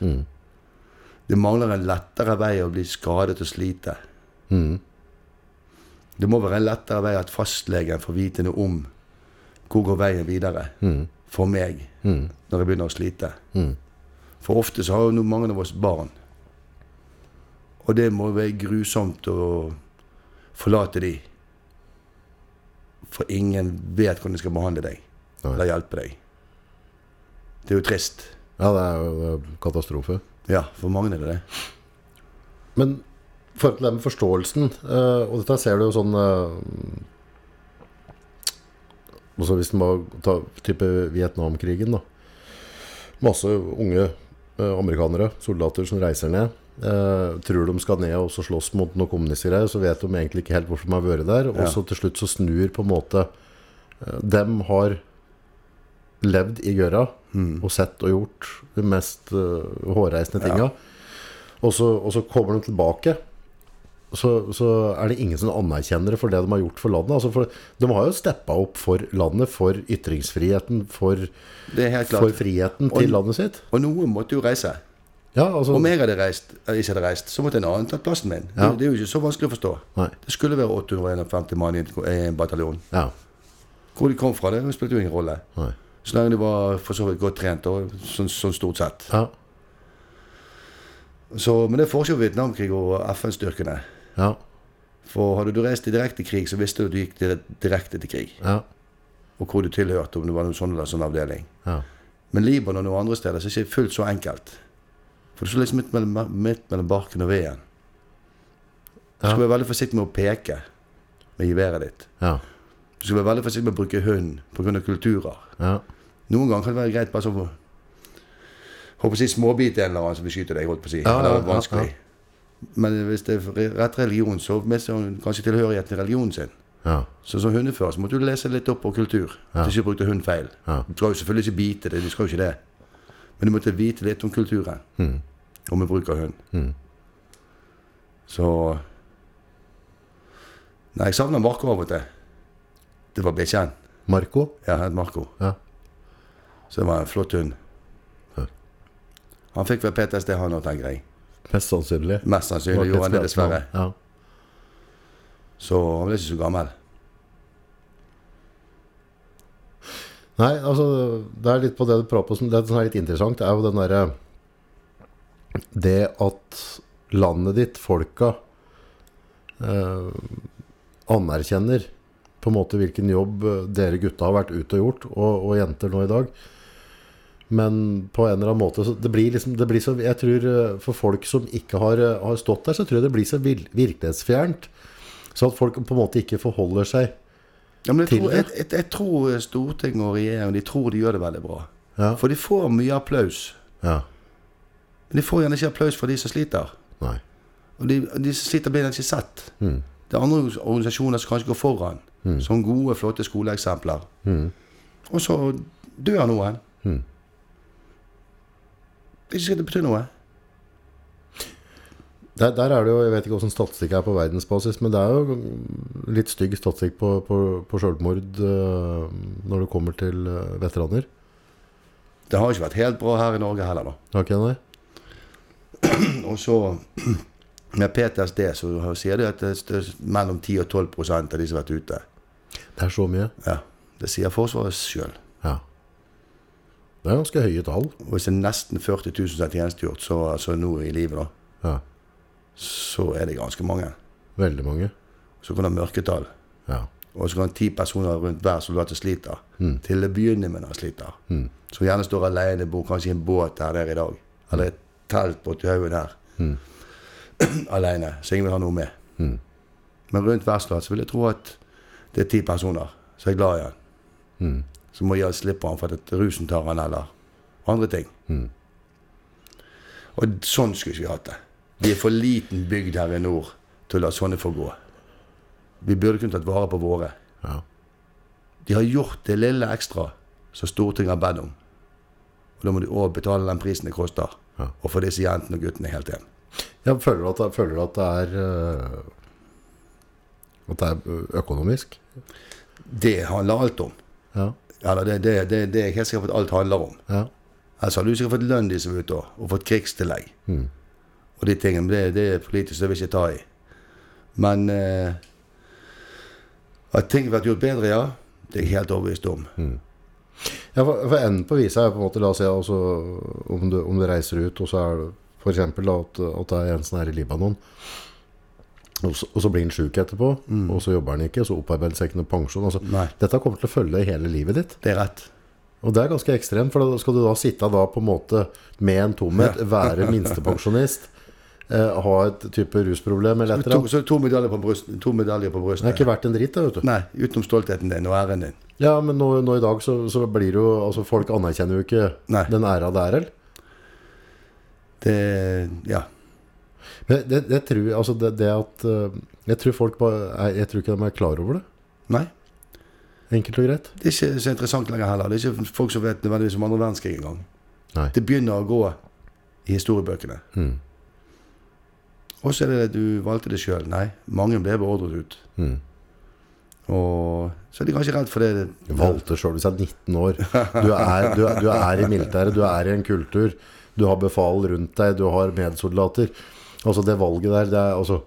Det mangler en lettere vei å bli skadet og slite.
Mm.
Det må være en lettere vei at fastlegen får vite noe om hvor går veien videre
Mm.
for meg når jeg begynner å slite. For ofte så har jo nå mange av oss barn. Og det må være grusomt å forlate de. For ingen vet hvordan de skal behandle deg
Nei.
eller hjelpe deg. Det er jo trist.
Ja, det er jo det er katastrofe.
Ja, for mange er det det.
Men i forhold til det med forståelsen eh, Og dette ser du jo sånn eh, altså Hvis man bare tar type Vietnamkrigen da Masse unge eh, amerikanere Soldater som reiser ned eh, Tror de skal ned og så slåss mot noen kommunister greier Så vet de egentlig ikke helt hvorfor de har vært der Og
Ja.
så til slutt så snur på en måte eh, Dem har levd i gøra Og sett og gjort De mest eh, hårreisende tinga og så, og så kommer de tilbake så, så er det ingen som anerkjenner det for det de har gjort for landet. Altså for, de har jo steppa opp for landet, for ytringsfriheten, for,
Det er helt klart.
for friheten til landet sitt.
Og noen måtte jo reise.
Ja, altså,
Om jeg hadde reist, eller ikke hadde reist, så måtte en annen tatt plassen min.
Ja.
Det, det er jo ikke så vanskelig å forstå.
Nei.
Det skulle være 851 mann i en, i en bataljon.
ja,
Hvor de kom fra, det spilte jo ingen rolle.
nei,
Så lenge de var for så vidt godt trent, og sånn, sånn stort sett.
ja,
Så, men det er forskjell på Vietnamkrig og FN-styrkene.
ja,
For hadde du reist i direkte krig, så visste du at du gikk dire- direkte til krig.
ja,
Og hvor du tilhørte, om det var noen sånn eller sånn avdeling.
ja.
Men Libanon og andre steder så er det ikke fullt så enkelt. For det står liksom midt mellom, midt mellom barken og veden. Du skal være veldig forsiktig med å peke med geværet ditt.
ja,
Du skal være veldig forsiktig med å bruke hund pga. kulturer.
ja.
Noen ganger kan det være greit bare sånn å- Håper å si småbite en eller annen som beskytter deg, holdt på å si.
Ja, ja,
Eller
ja,
vanskelig. Men hvis det er rett religion, så mister hun kanskje tilhørigheten til religionen sin.
ja.
Så som hundefører så måtte du lese litt opp på kultur. Ja. Til ikke brukte hund feil.
Ja.
Du skal jo selvfølgelig ikke bite det, du skal jo ikke det. Men du måtte vite litt om kulturen. Om vi bruker hund. Så Nei, jeg savner Marco av og til. Det var bikkjen.
Marco?
Ja, het Marco.
Ja.
Så det var en flott hund. Han fikk vel PTSD, han òg, tenker jeg.
Mest sannsynlig.
Mest sannsynlig
Markeds-
gjorde han det, dessverre.
Ja.
Så han ble ikke så gammel.
Nei, altså, det er litt på det du prater om som- Det som er litt interessant, er jo den derre Det at landet ditt, folka, eh, anerkjenner på en måte hvilken jobb eh, dere gutta har vært ute og gjort, og, og jenter nå i dag. Men på en eller annen måte så det blir liksom, det blir så, Jeg tror eh, for folk som ikke har, eh, har stått der, så tror jeg det blir så vil, virkelighetsfjernt. Så at folk på en måte ikke forholder seg
Ja, men jeg,
Til
tror,
det?
jeg, jeg, jeg tror eh, Stortinget og regjeringen de tror de gjør det veldig bra.
Ja.
For de får mye applaus.
Ja.
Men de får gjerne ikke applaus fra de som sliter.
Nei.
Og de, de som sliter, blir ikke sett. Det er andre organisasjoner som kanskje går foran, som gode, flotte skoleeksempler. Og så dør noen. Det er ikke sikkert det betyr noe.
Der, der er det jo, Jeg vet ikke hvordan statistikk er på verdensbasis, men det er jo litt stygg statistikk på, på, på selvmord øh, når det kommer til øh, veteraner.
Det har ikke vært helt bra her i Norge heller, da.
Har ikke jeg det?
Og så med PTSD så har- sier de at det er stø- mellom 10 og 12 prosent av de som har vært ute.
Det er så mye.
Ja, Det sier Forsvaret sjøl.
Ja. Det er ganske høye tall.
Og hvis det er nesten 40 000 som er tjenestegjort så, så nå i livet, da,
Ja.
så er det ganske mange.
Veldig mange.
Så kan du ha mørketall.
Ja.
Og så kan ti personer rundt hver soldat som sliter. Til å begynne med når han sliter. Som gjerne står alene, bor kanskje i en båt her der i dag. Eller et telt borti haugen her. alene. Så ingen vil ha noe med. Men rundt hver soldat så vil jeg tro at det er ti personer som er glad i han. Så må jeg slippe han for at rusen tar han eller andre ting. Og sånn skulle ikke vi hatt det. Vi er for liten bygd her i nord til å la sånne få gå. Vi burde kunne tatt vare på våre.
Ja.
De har gjort det lille ekstra som Stortinget har bedt om. Og da må de òg betale den prisen det koster.
Ja.
Og få disse jentene og guttene helt igjen.
Jeg føler at, jeg føler at det er øh, At det er ø- økonomisk.
Det handler alt om.
Ja.
Eller det, det, det, det er jeg helt sikker på at alt handler om.
Ja.
Ellers hadde du sikkert fått lønn de som er ute, også, og fått krigstillegg.
Mm.
Og de tingene. men Det, det er politisk, det vil jeg ikke ta i. Men eh, at ting har vært gjort bedre, ja. Det er jeg helt overbevist om.
Mm. Ja, for, for enden på visa er på en måte, la oss si altså, om, du, om du reiser ut, og så er det for eksempel da, at, at det er en som er i Libanon, og så, og så blir han syk etterpå, og så jobber han ikke, og så opparbeider han seg ikke noe pensjon. Altså,
Mm. Nei.
dette kommer til å følge hele livet ditt.
Det er rett.
Og det er ganske ekstremt, for da skal du da sitte da på en måte med en tomhet,
Ja.
være minstepensjonist, eh, ha et type rusproblem eller et
To,
eller annet.
så er det to medaljer på brystet. To medaljer på brystet.
Det er ikke verdt en dritt, da, vet du.
Nei, utenom stoltheten din og æren din.
Ja, men nå, nå i dag så, så blir det jo Altså, folk anerkjenner jo ikke
Nei.
den æra det er, eller?
Det, ja.
Men det, det tror jeg, altså det, det at eh, Jeg tror folk bare er- Jeg tror ikke de er klar over det.
Nei,
Enkelt og greit.
det er ikke så interessant lenger heller. Det er ikke folk som vet nødvendigvis om andre verdenskrig engang.
Nei. Mm.
Det begynner å gå i historiebøkene. Og så er det det du valgte det sjøl. Nei, mange ble beordret ut.
Mm.
Og så er de kanskje redd for det.
Valgte sjøl hvis jeg er 19 år. Du er, du, er- du er i militæret, du er i en kultur. Du har befal rundt deg, du har medsoldater. Altså, det valget der, det er altså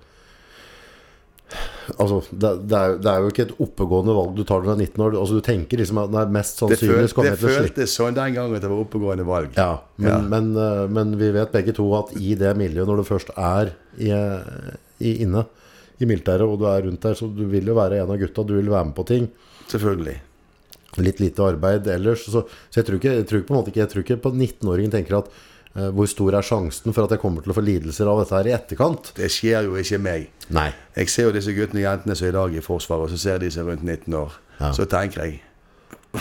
Altså, det, det, er, det er jo ikke et oppegående valg du tar når du er 19 år. Altså, du tenker liksom at nei, mest
Det,
sannsynlig så
føl,
kommer
det
jeg til å slippe.
føltes sånn den gangen at det var oppegående valg.
Ja, men,
Ja.
Men, eh, men vi vet begge to at i det miljøet, når du først er i, i, inne i militæret, og du er rundt der, så du vil jo være en av gutta, du vil være med på ting.
Selvfølgelig.
Litt lite arbeid ellers. Så, så jeg, tror ikke, jeg, tror ikke på en måte ikke, jeg tror ikke på 19-åringen tenker at eh, hvor stor er sjansen for at jeg kommer til å få lidelser av dette her i etterkant?
Det skjer jo ikke meg.
Nei.
Jeg ser jo disse guttene og jentene som er i dag i Forsvaret, og så ser de seg rundt 19 år.
Ja.
Så tenker jeg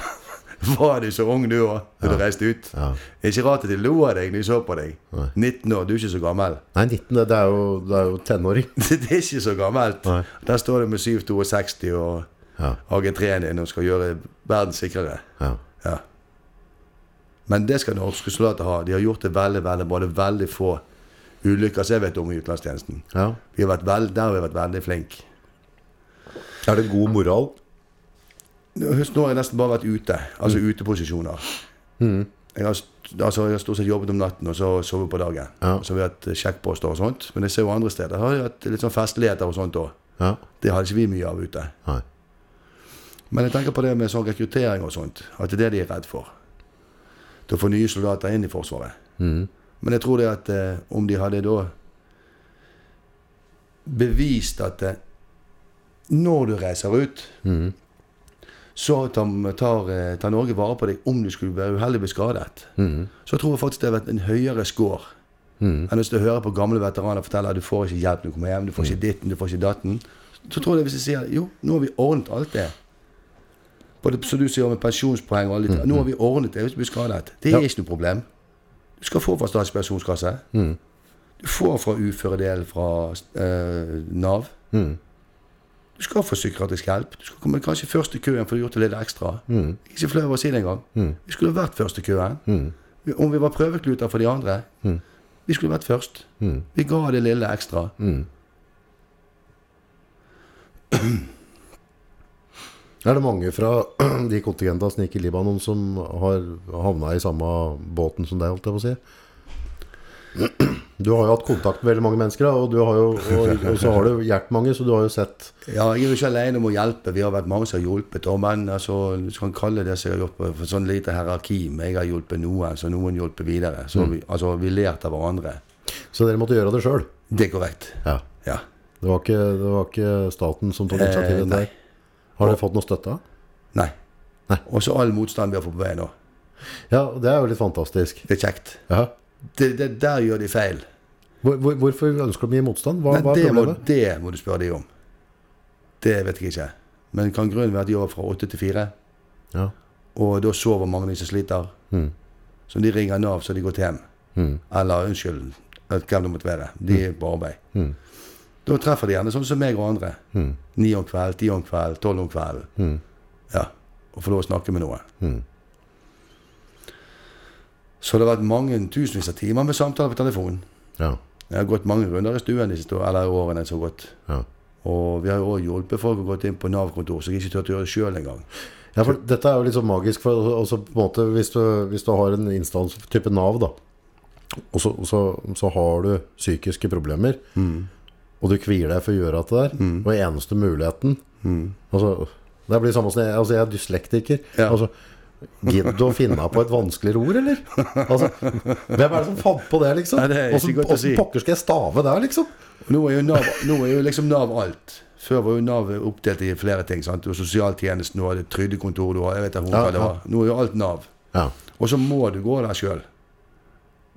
Var du så ung du òg da du reiste ut?
Ja.
Det er ikke rart at de lo av deg når de så på deg. 19 år, du er ikke så gammel.
Nei, 19, det, det er jo, det er jo tenåring.
Det er ikke så gammelt.
Nei.
Der står du med 762 og
Ja.
AG3-en din og skal gjøre verden sikrere.
Ja.
Ja. Men det skal norske soldater ha. De har gjort det veldig, veldig bra. Det er veldig få ulykker som jeg vet om i utenlandstjenesten.
ja.
Vi har vært veld, der har vi vært veldig flinke.
Er det god moral? Mm.
Husk, nå har jeg nesten bare vært ute. Altså uteposisjoner. Jeg har, st- altså, jeg har stort sett jobbet om natten og så sovet på dagen.
Ja.
Så vi har hatt eh, sjekkposter og sånt. Men jeg ser jo andre steder har de hatt litt sånn festligheter og sånt òg.
Ja.
Det hadde ikke vi mye av ute.
Nei.
Men jeg tenker på det med sånn rekruttering og sånt, at det er det de er redd for. Til å få nye soldater inn i Forsvaret. Men jeg tror det at eh, om de hadde da bevist at eh, når du reiser ut, så tar, tar, eh, tar Norge vare på deg om du skulle være uheldig og bli skadet. Så jeg tror jeg faktisk det har vært en høyere score enn hvis du hører på gamle veteraner fortelle at du får ikke hjelp når du kommer hjem, du får ikke ditten, du får ikke datten. Så tror jeg det hvis jeg sier jo, nå har vi ordnet alt det. Både som du sier med pensjonspoeng og alle de Nå har vi ordnet det hvis du blir skadet. Det er ikke noe problem. Du skal få fra Statens pensjonskasse. Du får fra uføredelen fra eh, Nav. Du skal få psykiatrisk hjelp. Du skal komme kanskje først i køen for du har gjort det litt ekstra. Ikke flau over å si det engang. Vi skulle vært først i køen. Om vi var prøvekluter for de andre Vi skulle vært først. Vi ga det lille ekstra.
Er det mange fra de kontingentene som gikk i Libanon som har havna i samme båten som deg, holdt jeg på å si? Du har jo hatt kontakt med veldig mange mennesker, da, og, du har jo, og, og så har du hjulpet mange, så du har jo sett
Ja, jeg er jo ikke alene om å hjelpe. Vi har vært mange som har hjulpet. Og men altså, du kan kalle det som jeg har hjulpet, for sånn lite hierarki. Men jeg har hjulpet noen, så noen hjulpet videre. Så
Mm.
vi, altså, vi lærte av hverandre.
Så dere måtte gjøre det sjøl.
Det er korrekt.
Ja.
Ja.
Det, var ikke, det var ikke staten som tok
Eh,
initiativet til
nei.
det? Har dere fått noe støtte?
Nei.
Nei.
Og så all motstand vi har fått på veien nå.
Ja, det er jo litt fantastisk.
Det er kjekt.
Ja.
Det, det, der gjør de feil.
Hvor, hvor, hvorfor ønsker de å gi motstand? Hva,
Men
hva er
det må,
problemet?
det må du spørre de om. Det vet jeg ikke. Men kan grunnen være at de jobber fra åtte til fire?
Ja.
Og da sover mange av de som sliter. Så de ringer Nav så de går til hjem. Eller unnskyld, at hvem det måtte være. De er på arbeid. Da treffer de gjerne sånn som meg og andre. Ni om kvelden, ti om kvelden, tolv om kvelden. Ja, og får lov å snakke med noen. Så det har vært mange tusenvis av timer med samtaler på telefonen.
Ja.
Jeg har gått mange runder i stuen de siste eller årene som har gått.
Ja.
Og vi har jo også hjulpet folk å gå inn på Nav-kontor, så jeg ikke turte å gjøre det sjøl engang.
Ja, for dette er jo litt sånn magisk for altså, på en måte, hvis, du, hvis du har en instans type Nav, da, og så, så, så har du psykiske problemer,
Mm.
og du kvier deg for å gjøre dette der, og eneste muligheten altså, Det blir samme som jeg, altså, jeg er dyslektiker.
Mm. Ja.
Altså, Gidder du å finne på et vanskeligere ord, eller? Altså, hvem er det som fant på det, liksom?
Nei, det er ikke
Åssen
godt å si.
åssen pokker skal jeg stave der, liksom?
Nå er jo Nav, nå er jo liksom NAV alt. Før var jo Nav oppdelt i flere ting. sant? Du har sosialtjenesten, du har det trygdekontoret, du har jeg vet ikke
Ja,
hva det var. Nå er jo alt Nav.
Ja.
Og så må du gå der sjøl.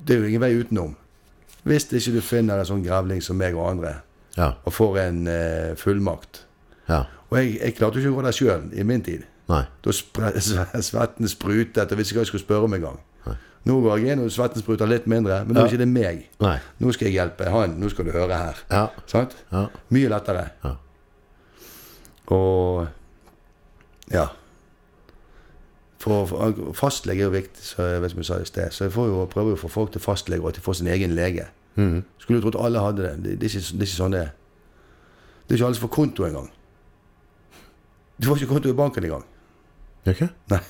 Det er jo ingen vei utenom. Hvis ikke du finner en sånn grevling som meg og andre,
Ja.
og får en eh, fullmakt.
ja.
Og jeg, jeg klarte jo ikke å gå der sjøl i min tid.
Nei.
Da spre- svetten sprutet, og visste ikke hva jeg skulle spørre om engang. Nå går jeg inn, og svetten spruter litt mindre, men nå er
Ja.
ikke det meg.
Nei.
Nå skal jeg hjelpe han. Nå skal du høre her.
Ja.
Sant?
Ja.
Mye lettere.
Ja.
Og ja. For, for Fastlege er jo viktig, så jeg vet som jeg sa i sted. Så jeg får jo, prøver jo å få folk til fastlege, og at de får sin egen lege. Skulle jo trodd alle hadde det. Det, det, er ikke, det er ikke sånn det er. Det er ikke alle som får konto engang. Du får ikke konto i banken engang.
Gjør ikke?
Nei.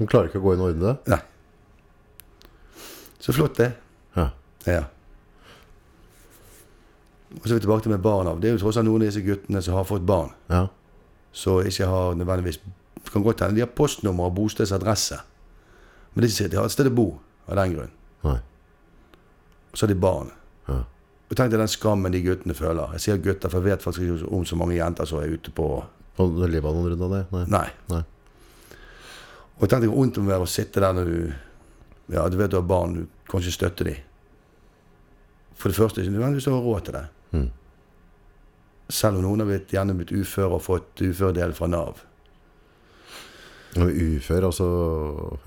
De klarer ikke å gå inn og ordne det?
Nei. Så flott, det.
Ja.
Ja. Og så er vi tilbake til med barna. Det er jo tross alt noen av disse guttene som har fått barn.
Ja.
Så ikke har nødvendigvis det kan godt hende de har postnummer og bostedsadresse. Men det er ikke sikkert de har et sted å bo av den grunn.
Nei.
Og så har de barn.
Ja.
Og tenk deg den skammen de guttene føler. Jeg sier gutter, for jeg vet faktisk ikke om så mange jenter som er ute på
På Libanon-runda der? Nei.
Nei.
Nei.
Og tenk deg hvor vondt det må være å sitte der når du Ja, du vet du har barn, du kan ikke støtte dem. For det første, ikke nødvendigvis du har råd til det.
Mm.
Selv om noen har blitt, gjerne blitt uføre og fått uføredel fra Nav.
Og Ufør, altså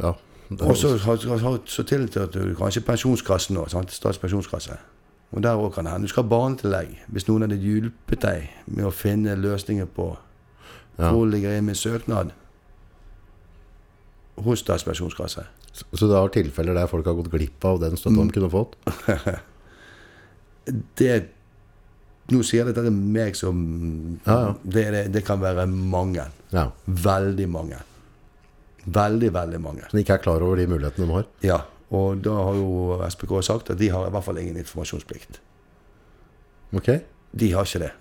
Ja.
Og så har- har- så tiltrådte du kanskje pensjonskassen nå, sant? Statens pensjonskasse. Og der òg kan det hende. Du skal ha barnetillegg. Hvis noen hadde hjulpet deg med å finne løsninger på
Ja.
hvor ligger jeg i min søknad hos Statens pensjonskasse.
så det har tilfeller der folk har gått glipp av den støtta de kunne fått?
Det Nå sier jeg dette til meg som
Ja, ja.
Det, er det, det kan være mange.
Ja.
Veldig mange. Veldig, veldig mange.
Som ikke er klar over de mulighetene de har.
Ja, og da har jo SPK sagt at de har i hvert fall ingen informasjonsplikt.
Ok?
De har ikke det.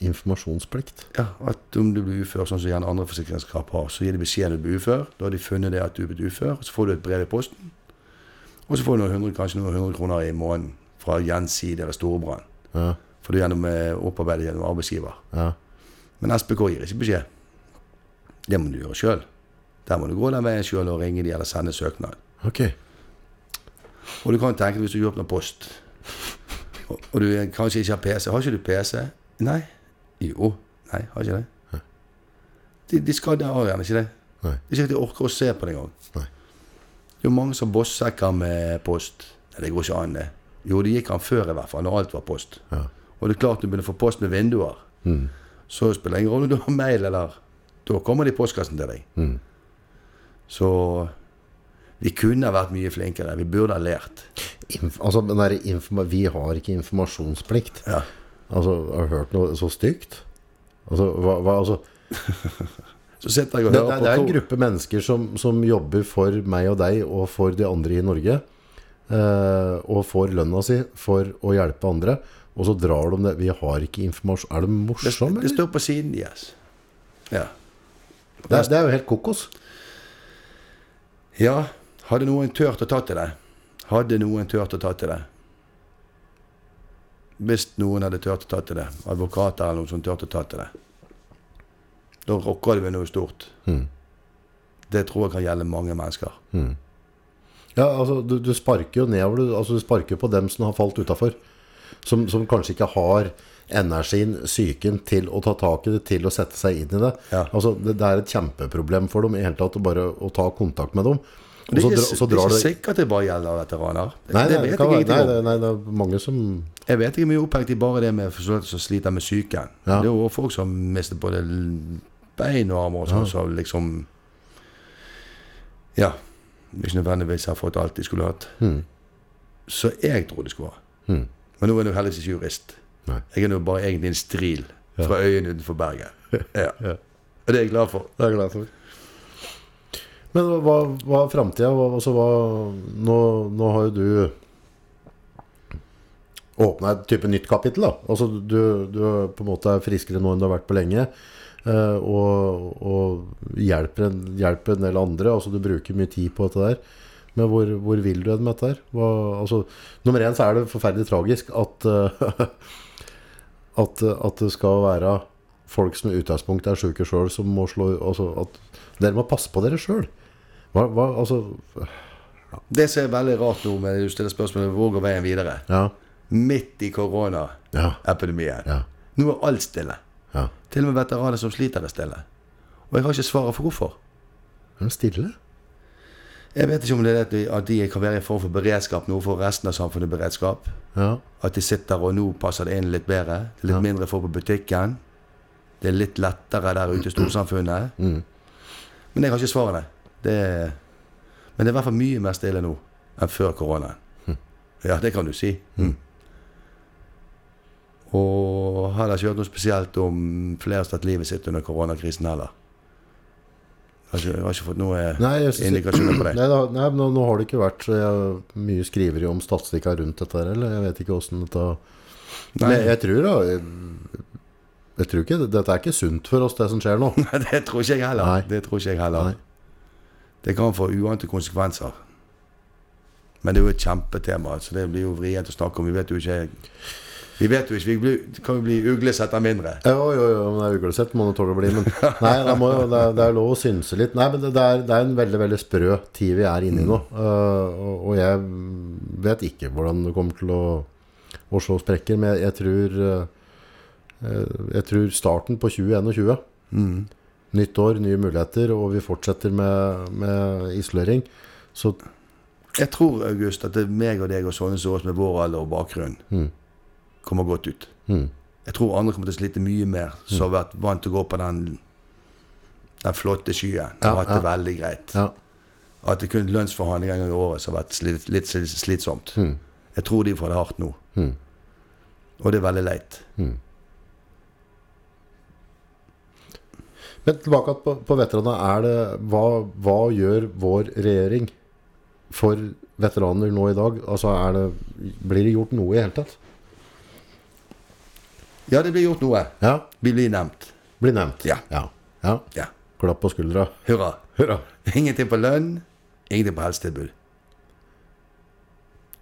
Informasjonsplikt.
Ja, at om du blir ufør, sånn som gjerne andre forsikringskrav har, så gir de beskjed når du blir ufør. Da har de funnet det at du er blitt ufør, og så får du et brev i posten. Og så får du noen hundre, kanskje noen hundre kroner i måneden fra Gjenside eller Storebrand.
Ja,
For du er gjennom, eh, opparbeidet gjennom arbeidsgiver.
ja.
Men SPK gir ikke beskjed. Det må du gjøre sjøl. Der må du gå den veien sjøl og ringe de eller sende søknad.
Ok.
Og du kan tenke deg hvis du åpner post, og, og du kanskje ikke har PC. Har ikke du PC? Nei. Jo. Nei, har ikke det. De, de skal der gjerne ikke det.
Nei.
Det er ikke at de orker å se på det engang.
Nei.
Det er jo mange som bossekker med post. Nei, det går ikke an, det. Jo, det gikk an før i hvert fall, når alt var post.
Ja. Mm.
Og det er klart du begynner å få post med vinduer. Så spiller det ingen rolle om du har mail eller Da kommer det i postkassen til deg.
Mm.
Så vi kunne ha vært mye flinkere. Vi burde ha lært.
Inf altså, den der informa vi har ikke informasjonsplikt.
Ja.
Altså, har du hørt noe så stygt? Altså, hva, hva, altså,
Så sitter jeg og
det,
hører
det, det er
på
en gruppe mennesker som, som jobber for meg og deg og for de andre i Norge, eh, og får lønna si for å hjelpe andre, og så drar de det. Vi har ikke informasjon. Er det morsomt,
Det
eller?
står på siden deres. Ja.
Det, er- det er jo helt kokos.
ja. Hadde noen turt å ta til det? Hadde noen turt å ta til det? Hvis noen hadde turt å ta til det, advokater eller noen som turt å ta til det, da rokker det ved noe stort.
Hmm.
Det tror jeg kan gjelde mange mennesker.
Ja, altså, du, du sparker jo nedover. Du, altså, du sparker på dem som har falt utafor. Som, som kanskje ikke har energien, psyken, til å ta tak i det, til å sette seg inn i det.
Ja.
Altså, det, det er et kjempeproblem for dem i hele tatt å bare å ta kontakt med dem. Og
Det
så
er
dra-
ikke,
så
det er
drar
ikke
det
sikkert det bare gjelder veteraner.
Nei,
det
nei,
vet
kan
jeg
være-
ingenting
nei,
om.
det- nei, det er mange som
Jeg vet ikke mye opphengt i bare det med personer som sliter med psyken. Det
Ja.
er jo folk som mister både l- bein og armer og sånn, som liksom Ja. Ikke nødvendigvis har fått alt de skulle hatt.
Hmm.
Så jeg tror det skulle ha. Men nå er jeg jo heldigvis ikke jurist.
Nei.
Jeg er nå bare egentlig en stril fra øyen utenfor Bergen. Ja. Og det er jeg glad for.
Det er jeg glad for. Men hva- hva, hva er framtida? Hva, altså, hva, nå, nå har jo du åpna et type nytt kapittel. da altså, du, du er på en måte er friskere nå enn du har vært på lenge. eh, Og, og hjelper, en, hjelper en del andre. Altså, du bruker mye tid på dette der. Men hvor, hvor vil du hen med dette her? Hva, altså, nummer én så er det forferdelig tragisk at, eh, at, at det skal være folk som i utgangspunktet er syke sjøl, som må slå altså, at Dere må passe på dere sjøl. Hva, hva, altså
Det som er veldig rart nå, med du stiller spørsmålet hvor går veien videre?
Ja.
Midt i koronaepidemien.
Ja. Ja.
Nå er alt stille.
ja.
Til og med veteraner som sliter er stille. Og jeg har ikke svaret for hvorfor.
Er det stille?
Jeg vet ikke om det er at de- at de kan være i en form for beredskap nå, for resten av samfunnet er beredskap.
Ja.
At de sitter og nå passer det inn litt bedre. Det er litt mindre folk på butikken. Det er litt lettere der ute i storsamfunnet.
Mm.
Men jeg har ikke svarene. Det er, men det er i hvert fall mye mer stille nå enn før koronaen.
Hm.
Ja, det kan du si. Mm. Og har da ikke hørt noe spesielt om flere som har tatt livet sitt under koronakrisen heller. Jeg har ikke, jeg har ikke fått noe
Nei, jeg synes,
indikasjoner på det.
Nei, da, nei men nå, nå har det ikke vært så jeg, mye skriveri om statistikka rundt dette her, eller jeg vet ikke åssen dette Men jeg, jeg tror da jeg, jeg tror ikke Dette er ikke sunt for oss, det som skjer nå.
Nei, det tror ikke jeg heller.
Nei.
Det tror ikke jeg heller.
Nei.
Det kan få uante konsekvenser. Men det er jo et kjempetema, så det blir jo vrient å snakke om. Vi vet jo ikke Vi vet jo ikke, vi blir, kan jo bli uglesett av mindre.
Jo, jo, jo, men det er uglesett må det tåle å bli. Men nei, da må, jo- det, er, det er lov å synse litt. Nei, men det, det, er, det er en veldig veldig sprø tid vi er inne i nå. eh, og, og jeg vet ikke hvordan det kommer til å, å slå sprekker, men jeg, jeg tror eh, eh, Jeg tror starten på 2021 Nytt år, nye muligheter, og vi fortsetter med, med isolering. Så
Jeg tror, August, at det er meg og deg og sånne som oss med vår alder og bakgrunn
Mm.
kommer godt ut. Jeg tror andre kommer til å slite mye mer, som
Mm.
har vært vant til å gå på den, den flotte skyen. Og
Ja,
hatt det veldig greit.
ja.
At det kun lønnsforhandlinger en gang i året som har vært slit, litt sli- slitsomt. Jeg tror de får det hardt nå. Og det er veldig leit.
Men tilbake på, på veteranene. Er det, hva, hva gjør vår regjering for veteraner nå i dag? Altså, er det, blir det gjort noe i hele tatt?
Ja, det blir gjort noe.
Ja,
Vi blir nevnt.
blir nevnt.
Ja.
ja. ja.
Ja.
Klapp på skuldra.
Hurra.
Hurra.
Ingenting på lønn, ingenting på helsetilbud.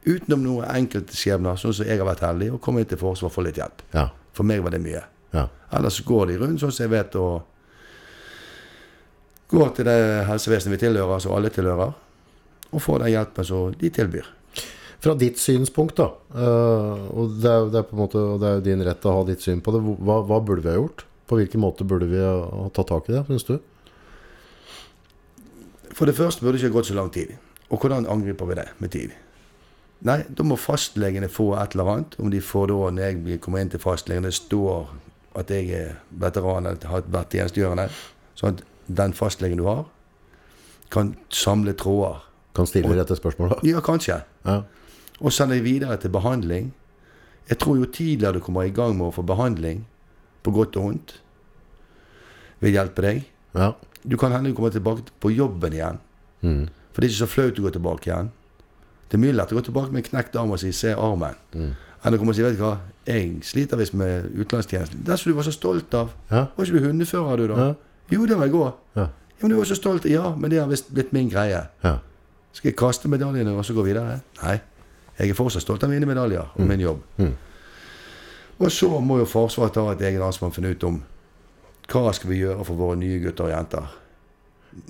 Utenom noen enkeltskjebner, sånn som jeg har vært heldig og kommet inn til Forsvaret for litt hjelp.
Ja,
For meg var det mye.
ja,
Ellers så går de rundt sånn som jeg vet og går til det helsevesenet vi tilhører, som alle tilhører, og får den hjelpen som de tilbyr.
Fra ditt synspunkt, da, eh, og det er, jo- det er på en måte og det er jo din rett å ha ditt syn på det, Hvor- hva, hva burde vi ha gjort? På hvilken måte burde vi ha ha tatt tak i det, syns du?
For det første burde det ikke ha gått så lang tid. Og hvordan angriper vi det med tid? Nei, da må fastlegene få et eller annet. Om de får da, når jeg blir- kommer inn til fastlegen, det står at jeg er veteran eller har vært tjenestegjørende, sånn at den fastlegen du har, kan samle tråder.
Kan stille dette spørsmålet.
Ja, kanskje.
Ja,
Og sende det videre til behandling. Jeg tror jo tidligere du kommer i gang med å få behandling, på godt og vondt, vil hjelpe deg.
ja,
Du kan hende du kommer tilbake på jobben igjen.
Mm.
For det er ikke så flaut å gå tilbake igjen. Det er mye lettere å gå tilbake med en knekt arm og si 'se armen',
Mm.
enn å komme og si 'vet du hva, jeg sliter visst med utenlandstjenesten'. Den som du var så stolt av.
Ja.
Var ikke du hundefører, du, da?
Ja.
Jo, det var i går.
Ja.
Ja, men du var så stolt. Ja, men det har visst blitt min greie.
ja.
Skal jeg kaste medaljene og så gå videre? Nei. Jeg er fortsatt stolt av mine medaljer og min jobb. Og så må jo Forsvaret ta et eget ansvar og finne ut om hva skal vi gjøre for våre nye gutter og jenter.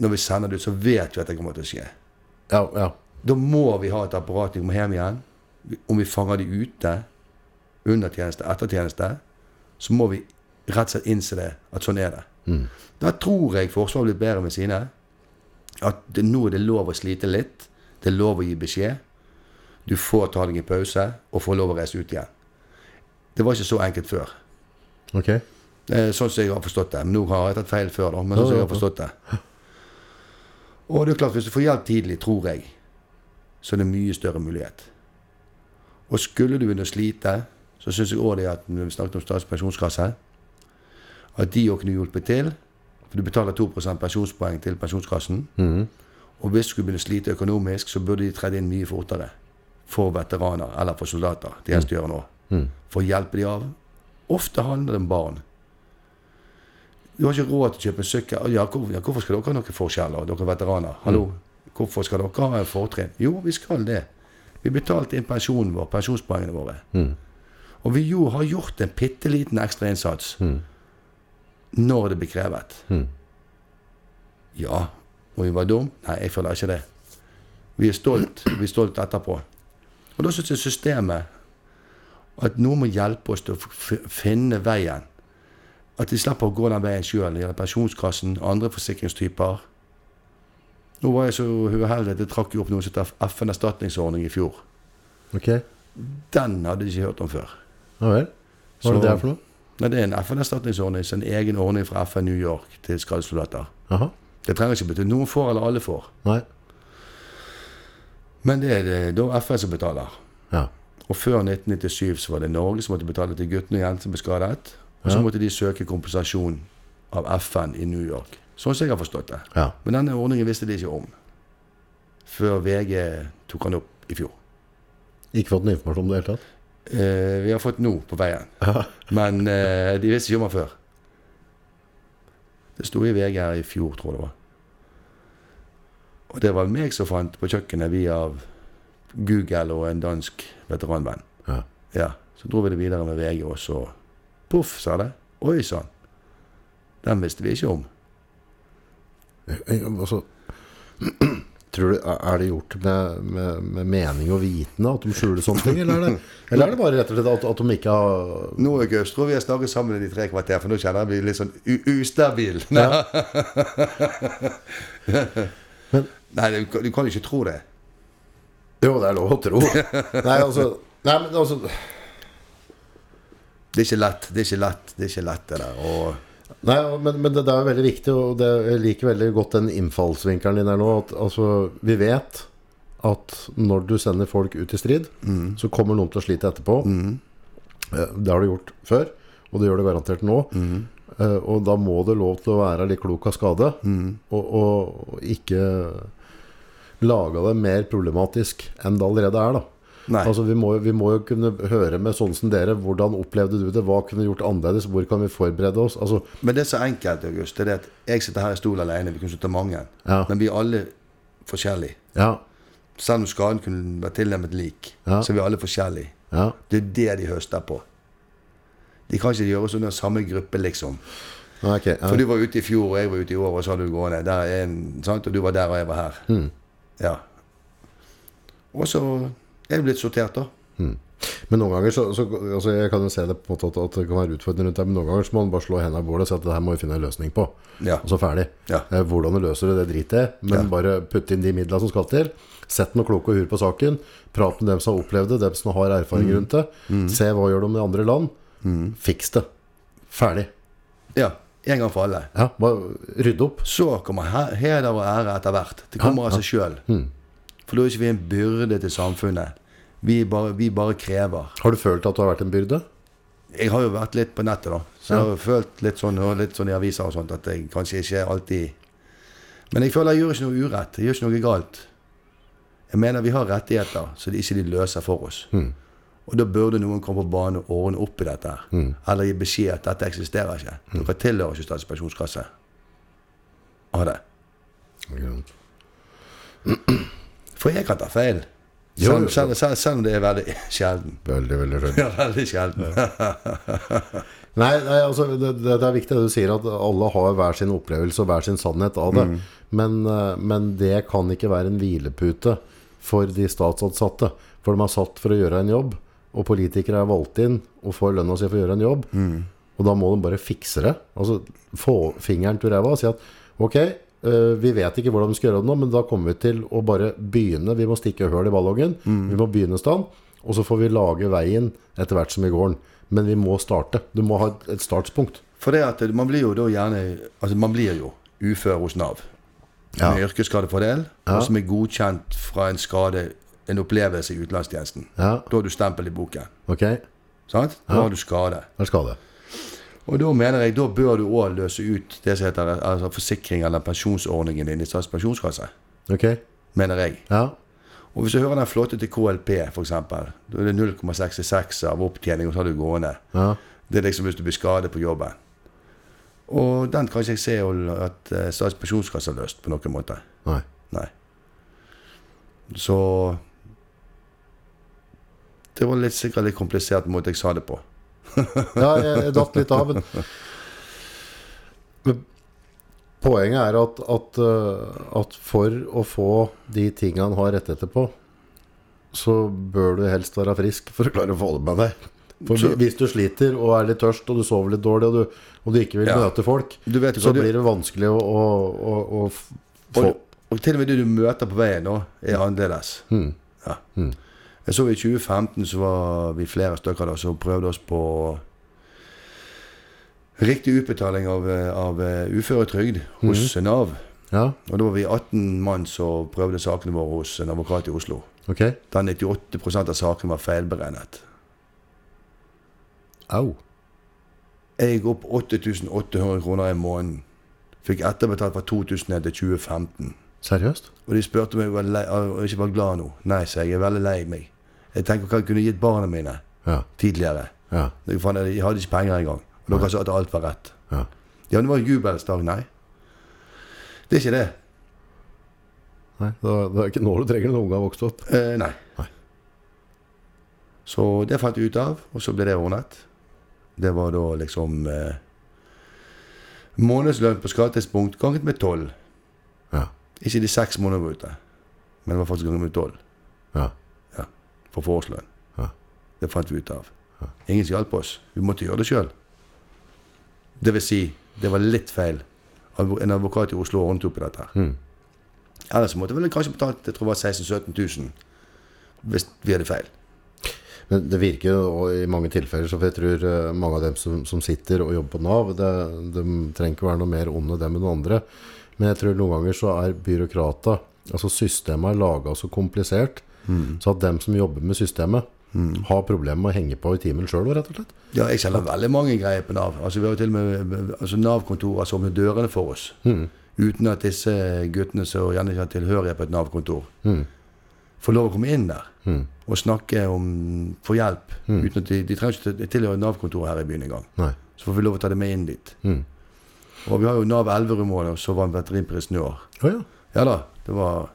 Når vi sender det ut, så vet vi at det kommer til å skje.
ja, ja.
Da må vi ha et apparat når vi kommer hjem igjen. Om vi fanger de ute, under tjeneste, etter tjeneste, så må vi rett og slett innse det, at sånn er det. Da tror jeg Forsvaret blir bedre med sine. At det, nå er det lov å slite litt. Det er lov å gi beskjed. Du får ta deg en pause og får lov å reise ut igjen. Det var ikke så enkelt før.
Ok.
Eh, Sånn som jeg har forstått det. Men Nå har jeg tatt feil før, da. Men sånn som jeg har forstått det. Og det er klart, hvis du får hjelp tidlig, tror jeg, så er det mye større mulighet. Og skulle du begynne å slite, så syns jeg òg det at når vi snakket om Statens pensjonskasse, at de òg kunne hjulpet til. For du betaler 2 pensjonspoeng til pensjonskassen. Og hvis du skulle begynne å slite økonomisk, så burde de tredd inn mye fortere. For veteraner eller for soldater. Det eneste de gjør nå. For å hjelpe de av. Ofte handler det om barn. Du har ikke råd til å kjøpe en sykkel. Ja, hvor, ja, hvorfor skal dere ha noen forskjeller, dere veteraner? Hallo, hvorfor skal dere ha en fortrinn? Jo, vi skal det. Vi betalte inn pensjonen vår, pensjonspoengene våre. Og vi jo har gjort en bitte liten ekstra innsats når det blir krevet. Ja, må vi være dum? Nei, jeg føler ikke det. Vi er stolt. Vi er stolt etterpå. Og da syns jeg systemet at noen må hjelpe oss til å f- finne veien. At de slipper å gå den veien sjøl. Det gjelder Pensjonskassen, andre forsikringstyper. Nå var jeg så uheldig at jeg trakk jo opp noe som heter FN erstatningsordning i fjor.
Ok. Ja
Den hadde jeg ikke hørt om før.
vel. Hva er
Så-
det det er for noe?
Nei, det er en FN-erstatningsordning, så en egen ordning fra FN New York til skadesoldater.
Jaha.
Det trenger ikke bety noen får eller alle får.
Nei.
Men det er det da FN som betaler.
Ja.
Og før 1997 så var det Norge som måtte betale til guttene og jentene som ble skadet. Og så måtte de søke kompensasjon av FN i New York. Sånn som jeg har forstått det.
Ja.
Men denne ordningen visste de ikke om før VG tok han opp i fjor.
Ikke fått noe informasjon om det i det hele tatt?
Eh, vi har fått nå på veien, men eh, de visste ikke om han før. Det sto i VG her i fjor, tror jeg det var. Og det var meg som fant på kjøkkenet via Google og en dansk veteranvenn.
Ja.
Ja, Så dro vi det videre med VG, og så poff, sa det. Oi sann. Den visste vi ikke om.
Eh, Altså, tror du, er er det gjort med, med, med mening og vitende at de skjuler sånne ting, eller er det, eller er det bare rett og slett at, at de ikke har
Nå er jeg Østro, vi har snakket sammen i de tre kvarter, for nå kjenner jeg meg litt sånn u- ustabil. Nei, Nei du, kan- du kan jo ikke tro det.
Jo, det er lov å tro. Nei, altså, nei, men altså
Det er ikke lett, det er ikke lett, det er ikke lett det der. Og
Nei, men, men det, det er jo veldig viktig, og det, jeg liker veldig godt den innfallsvinkelen din her nå. At, altså, vi vet at når du sender folk ut i strid, så kommer noen til å slite etterpå. Eh, Det har du gjort før, og det gjør du garantert nå. Eh, og da må det lov til å være litt klok av skade, og, og, og ikke lage det mer problematisk enn det allerede er. da.
Nei.
Altså, vi må, jo- vi må jo kunne høre med sånne som dere. Hvordan opplevde du det? Hva kunne vi gjort annerledes? Hvor kan vi forberede oss? Altså,
Men det er så enkelt, August. Det er det at jeg sitter her i stolen alene. Vi kunne sitte mange.
Ja.
Men vi er alle forskjellige.
ja,
Selv om skaden kunne vært tilnærmet lik,
Ja.
så er vi alle forskjellige.
ja.
Det er det de høster på. De kan ikke gjøre oss under samme gruppe, liksom.
Nei, ok, ja.
For du var ute i fjor, og jeg var ute i år, og så hadde du gående. Der er en, sant? Og du var der, og jeg var her. Ja. Og så er jeg blitt sortert, da.
Men noen ganger så, så altså Jeg kan jo se det på en måte at, at det kan være utfordrende rundt deg, men noen ganger så må man bare slå hendene i bordet og si at det her må vi finne en løsning på.
Ja.
Og så ferdig.
Ja.
Eh, Hvordan du løser det, det driter jeg i, men
Ja.
bare putte inn de midlene som skal til. Sett noen kloke huer på saken. Prat med dem som har opplevd det, dem som har
Mm.
erfaring rundt det. Se hva gjør de i andre land. Fiks det. Ferdig.
Ja. En gang for alle.
Ja, bare rydde opp.
Så kommer he- heder og ære etter hvert. Det kommer av seg sjøl. For da er ikke vi en byrde til samfunnet. Vi bare, vi bare krever.
Har du følt at du har vært en byrde?
Jeg har jo vært litt på nettet, da. Så jeg har jo følt litt sånn, og litt sånn i aviser og sånt at jeg kanskje ikke alltid Men jeg føler jeg gjør ikke noe urett. Jeg gjør ikke noe galt. Jeg mener vi har rettigheter så de ikke de løser for oss. Og da burde noen komme på banen og ordne opp i dette. her. Eller gi beskjed at dette eksisterer ikke. Dere tilhører ikke Statens pensjonskasse. Ha det. For jeg kan ta feil.
Jo,
Selv,
jo.
selv, selv, selv om det er veldig sjelden.
Veldig, veldig skjønt.
Ja, veldig sjelden.
Nei, nei altså, det, det det er viktig det du sier, at alle har hver sin opplevelse og hver sin sannhet av det. Men, eh, men det kan ikke være en hvilepute for de statsansatte. For de er satt for å gjøre en jobb, og politikere er valgt inn og får lønna si for å gjøre en jobb. Og da må de bare fikse det. Altså få fingeren til ræva og si at ok, eh, vi vet ikke hvordan vi skal gjøre det nå, men da kommer vi til å bare begynne. Vi må stikke høl i ballongen. Vi må begynne stand, og så får vi lage veien etter hvert som vi går den. Men vi må starte. Du må ha et- et startspunkt.
For det at man blir jo da gjerne Altså man blir jo ufør hos Nav.
Ja.
Med yrkesskadefordel, og som er godkjent fra en skade, en opplevelse i utenlandstjenesten.
Ja.
Da har du stempel i boken.
Ok, der
Sant? Da har du skade.
skal det.
Og da mener jeg, da bør du òg løse ut det som heter altså forsikring eller pensjonsordningen din i Statens pensjonskasse.
Ok,
Mener jeg.
ja.
Og hvis du hører den flotte til KLP, f.eks. Da er det 0,66 av opptjening, og så har du gående.
Ja.
Det er liksom hvis du blir skadet på jobben. Og den kan ikke jeg se og- at eh, Statens pensjonskasse har løst på noen måte.
Nei.
Nei. Så Det var litt, sikkert litt komplisert måte jeg sa det på.
Ja, jeg, jeg datt litt av, men, men Poenget er at, at, eh, at for å få de tingene han har rettigheter på, så bør du helst være frisk for å klare å få det med deg. For
Så-
hvis du sliter og er litt tørst og du sover litt dårlig og du, og du ikke vil
Ja.
møte folk,
Du vet jo
så
hva du-
blir det vanskelig å, å, å, å f- få
Og, og til og med det du møter på veien nå, er annerledes. Ja. Jeg så i 2015 så var vi flere stykker da som prøvde oss på riktig utbetaling av, eh, av eh, uføretrygd hos Nav.
Ja,
Og da var vi 18 mann som prøvde sakene våre hos en advokat i Oslo.
ok.
Der 98 av sakene var feilberegnet.
Au.
Jeg gikk opp 8800 kroner i måneden. Fikk etterbetalt fra 2000 til 2015.
Seriøst?
Og de spurte om jeg var, lei, om jeg ikke var glad nå. Nei, sa jeg. Jeg er veldig lei meg. Jeg tenker hva jeg kunne gitt barna mine
Ja.
tidligere.
Ja.
Jeg fant- jeg hadde ikke penger engang. Og dere sa at alt var rett.
Ja.
Ja, det var jubelens dag. Nei. Det er ikke det.
Nei, det er, det er ikke nå du trenger en unge har vokst opp.
Eh, nei.
Nei.
Så det fant jeg ut av, og så ble det ordnet. Det var da liksom eh, Månedslønn på skattetidspunkt ganget med tolv.
Ja.
Ikke de seks månedene vi var ute, men det var faktisk ganget med tolv
Ja.
ja, for forårslønn.
Ja.
Det fant vi ut av. Ingen som hjalp oss. Vi måtte gjøre det sjøl. Det vil si, det var litt feil. Advo- En advokat i Oslo ordnet opp i dette.
Mm.
her. Ellers måtte vi vel kanskje betalt jeg tror det var 16 000-17 000 hvis vi hadde feil.
Men det virker jo og i mange tilfeller, så jeg tror eh, mange av dem som, som sitter og jobber på Nav, det, de trenger ikke være noe mer onde dem enn noen andre. Men jeg tror noen ganger så er byråkrata, altså systemet er laget så komplisert, så at dem som jobber med systemet, Har problemer med å henge på i timen sjøl, rett og slett.
Ja, jeg selger veldig mange greier på Nav. Altså, vi har jo til og med altså, Nav-kontorer som åpner dørene for oss. Uten at disse guttene som gjerne ikke har tilhørighet på et Nav-kontor, får lov å komme inn der og snakke om få hjelp. Uten at de, de trenger ikke til- tilhøre Nav-kontoret her i byen engang.
Nei.
Så får vi lov å ta det med inn dit. Og vi har jo Nav Elverum-målet, og så vant Veterinprisen i år.
Å ja.
Ja da, det var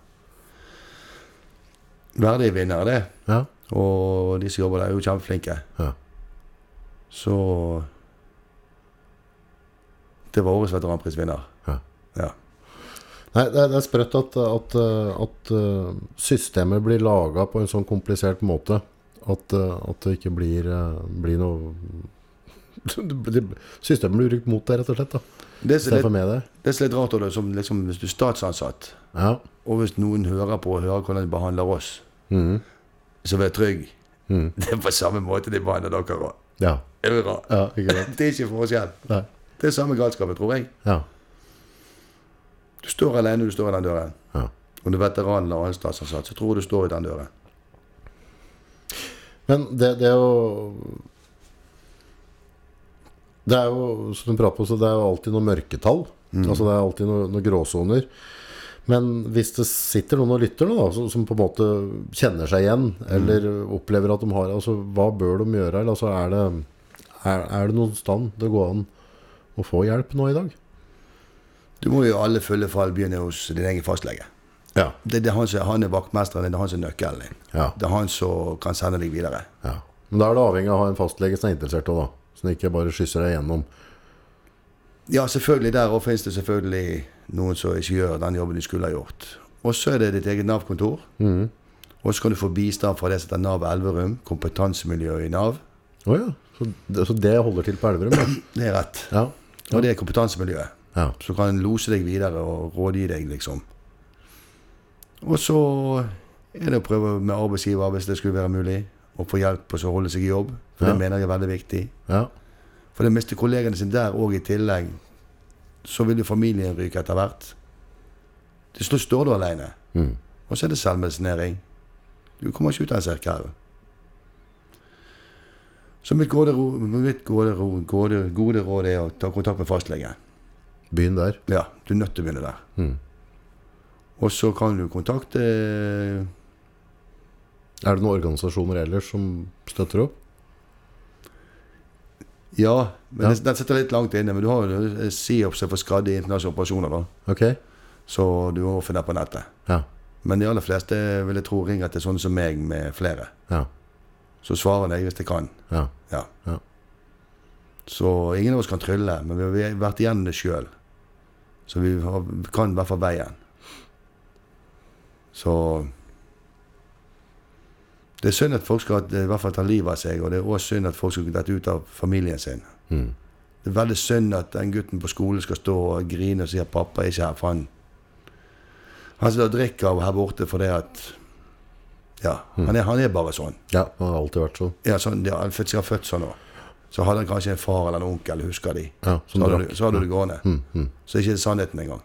verdige vinnere, det.
Ja.
Og de som jobber der, er jo kjempeflinke.
ja.
Så Det var årets veteranprisvinner.
ja.
Ja.
Nei, det er, det er sprøtt at, at, eh, at eh, systemet blir laga på en sånn komplisert måte at, eh, at det ikke blir, eh, blir noe det blir- Systemet blir brukt mot deg, rett og slett. da
Det som er
Istedenfor
litt,
med deg.
det som er litt rart, da, som liksom, hvis du er statsansatt,
Ja.
og hvis noen hører på og hører hvordan de behandler oss,
Mhm.
så vær trygg. Det er på samme måte de behandler dere òg.
Ja.
Er det rart?
ja ikke sant?
Det er ikke forskjell.
Nei.
Det er samme galskapen, tror jeg.
Ja.
Du står alene når du står i den døren.
ja.
Om du er veteran eller annen statsansatt, så tror jeg du står i den døren.
Men det, det er jo Det er jo som du prater på, så det er jo alltid noen mørketall. Altså Det er alltid noen noe gråsoner. Men hvis det sitter noen og lytter nå, da, som, som på en måte kjenner seg igjen, eller opplever at de har Altså, hva bør de gjøre? Eller altså, er det er, er det noen stand det går an å få hjelp nå i dag?
Du må jo i alle fulle fall begynne hos din egen fastlege.
Ja.
Det, det er han, som, han er vaktmesteren din, det er han som er nøkkelen din.
Ja.
Det er han som kan sende deg videre.
ja. Men da er det avhengig av å ha en fastlege som er interessert òg, da. Som ikke bare skysser deg gjennom.
Ja, selvfølgelig. Der òg finnes det selvfølgelig noen som ikke gjør den jobben de skulle ha gjort. Og så er det ditt eget Nav-kontor. Og så kan du få bistand fra det som heter Nav Elverum, kompetansemiljøet i Nav.
Å ja. Så det, så det holder til på Elverum? da.
Det er rett.
Ja.
Og det er kompetansemiljøet.
ja.
Som kan lose deg videre og rådgi deg, liksom. Og så er det å prøve med arbeidsgiver, hvis det skulle være mulig, å få hjelp på å holde seg i jobb. For
Ja.
det mener jeg er veldig viktig.
Ja,
For det mister kollegene sine der òg i tillegg. Så vil jo familien ryke etter hvert. Til slutt står du alene. Og så er det selvmedisinering. Du kommer ikke ut av en sirkel. Så mitt gode, ro, mitt gode, ro, gode, gode råd er å ta kontakt med fastlegen.
Begynn der.
Ja, du er nødt til å begynne der. Og så kan du kontakte
Er det noen organisasjoner ellers som støtter opp?
Ja, men
Ja.
Den, den sitter litt langt inne. Men du har jo eh, SIOPS for skadde i internasjonale operasjoner, da.
Ok.
Så du må finne på nettet.
Ja.
Men de aller fleste vil jeg tro ringer til sånne som meg med flere.
Ja.
Så svarer jeg hvis jeg kan.
Ja.
Ja.
Ja.
Så ingen av oss kan trylle, men vi har vært igjennom det sjøl. Så vi har, kan i hvert fall veien. Så Det er synd at folk skal i hvert fall ta livet av seg, og det er også synd at folk skal dette ut av familien sin. Det er veldig synd at den gutten på skolen skal stå og grine og si at 'pappa er ikke her', for han Han sitter og drikker av her borte fordi at Ja, han, er, han er bare sånn.
ja. Det har alltid vært sånn.
Ja, sånn, ja, han er født- sikkert født sånn også. Så hadde han kanskje en far eller en onkel, husker de.
Ja, Mm,
så,
som
hadde
drakk.
du, så hadde du det gående. Så ikke det er sannheten engang.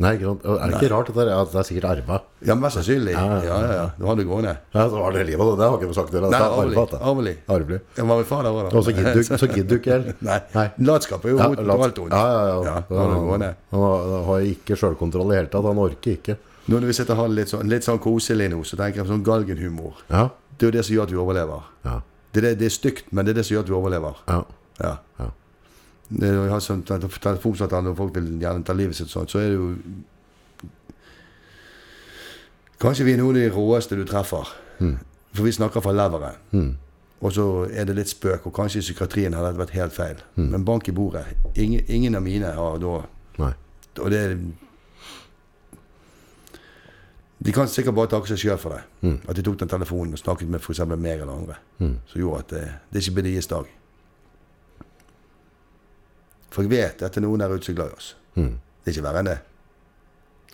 Nei, ikke sant? Er det ikke rart at det er, at det er sikkert arva?
Ja, mest sannsynlig. Ja, ja, ja. Du hadde det gående.
Ja, så var det livet, det. Det har ikke vi sagt til deg.
Nei,
Det er
arvelig.
arva, det.
Arvelig.
Arvelig.
Ja, var min far der også, da?
Og så gidder du- så gidder du ikke helt.
Nei.
Nei.
Latskap er jo
Ja,
roten
lat-
til alt ondt.
Ja, ja, ja.
ja da hadde det
han,
gående.
han har- han har ikke sjølkontroll i det hele tatt. Han orker ikke.
Nå når vi sitter og har det litt sånn, litt sånn koselig nå, så tenker jeg på sånn galgenhumor.
Ja.
Det er jo det som gjør at vi overlever.
Ja.
Det er, det, det er stygt, men det er det som gjør at vi overlever.
Ja.
Ja.
Ja.
Det er jo- jeg har sånn tele- telefonsamtale når folk vil gjerne ta livet sitt sånn, så er det jo Kanskje vi er noen av de råeste du treffer. For vi snakker fra leveren. Og så er det litt spøk, og kanskje i psykiatrien har dette vært helt feil. Men bank i bordet. Ingen, ingen av mine har da
Nei.
Og det er De kan sikkert bare takke seg sjøl for det. At de tok den telefonen og snakket med f.eks. meg eller andre. Som gjorde at det, det ikke ble deres dag. For jeg vet at det er noen der ute som er glad i oss. Det er ikke verre enn det.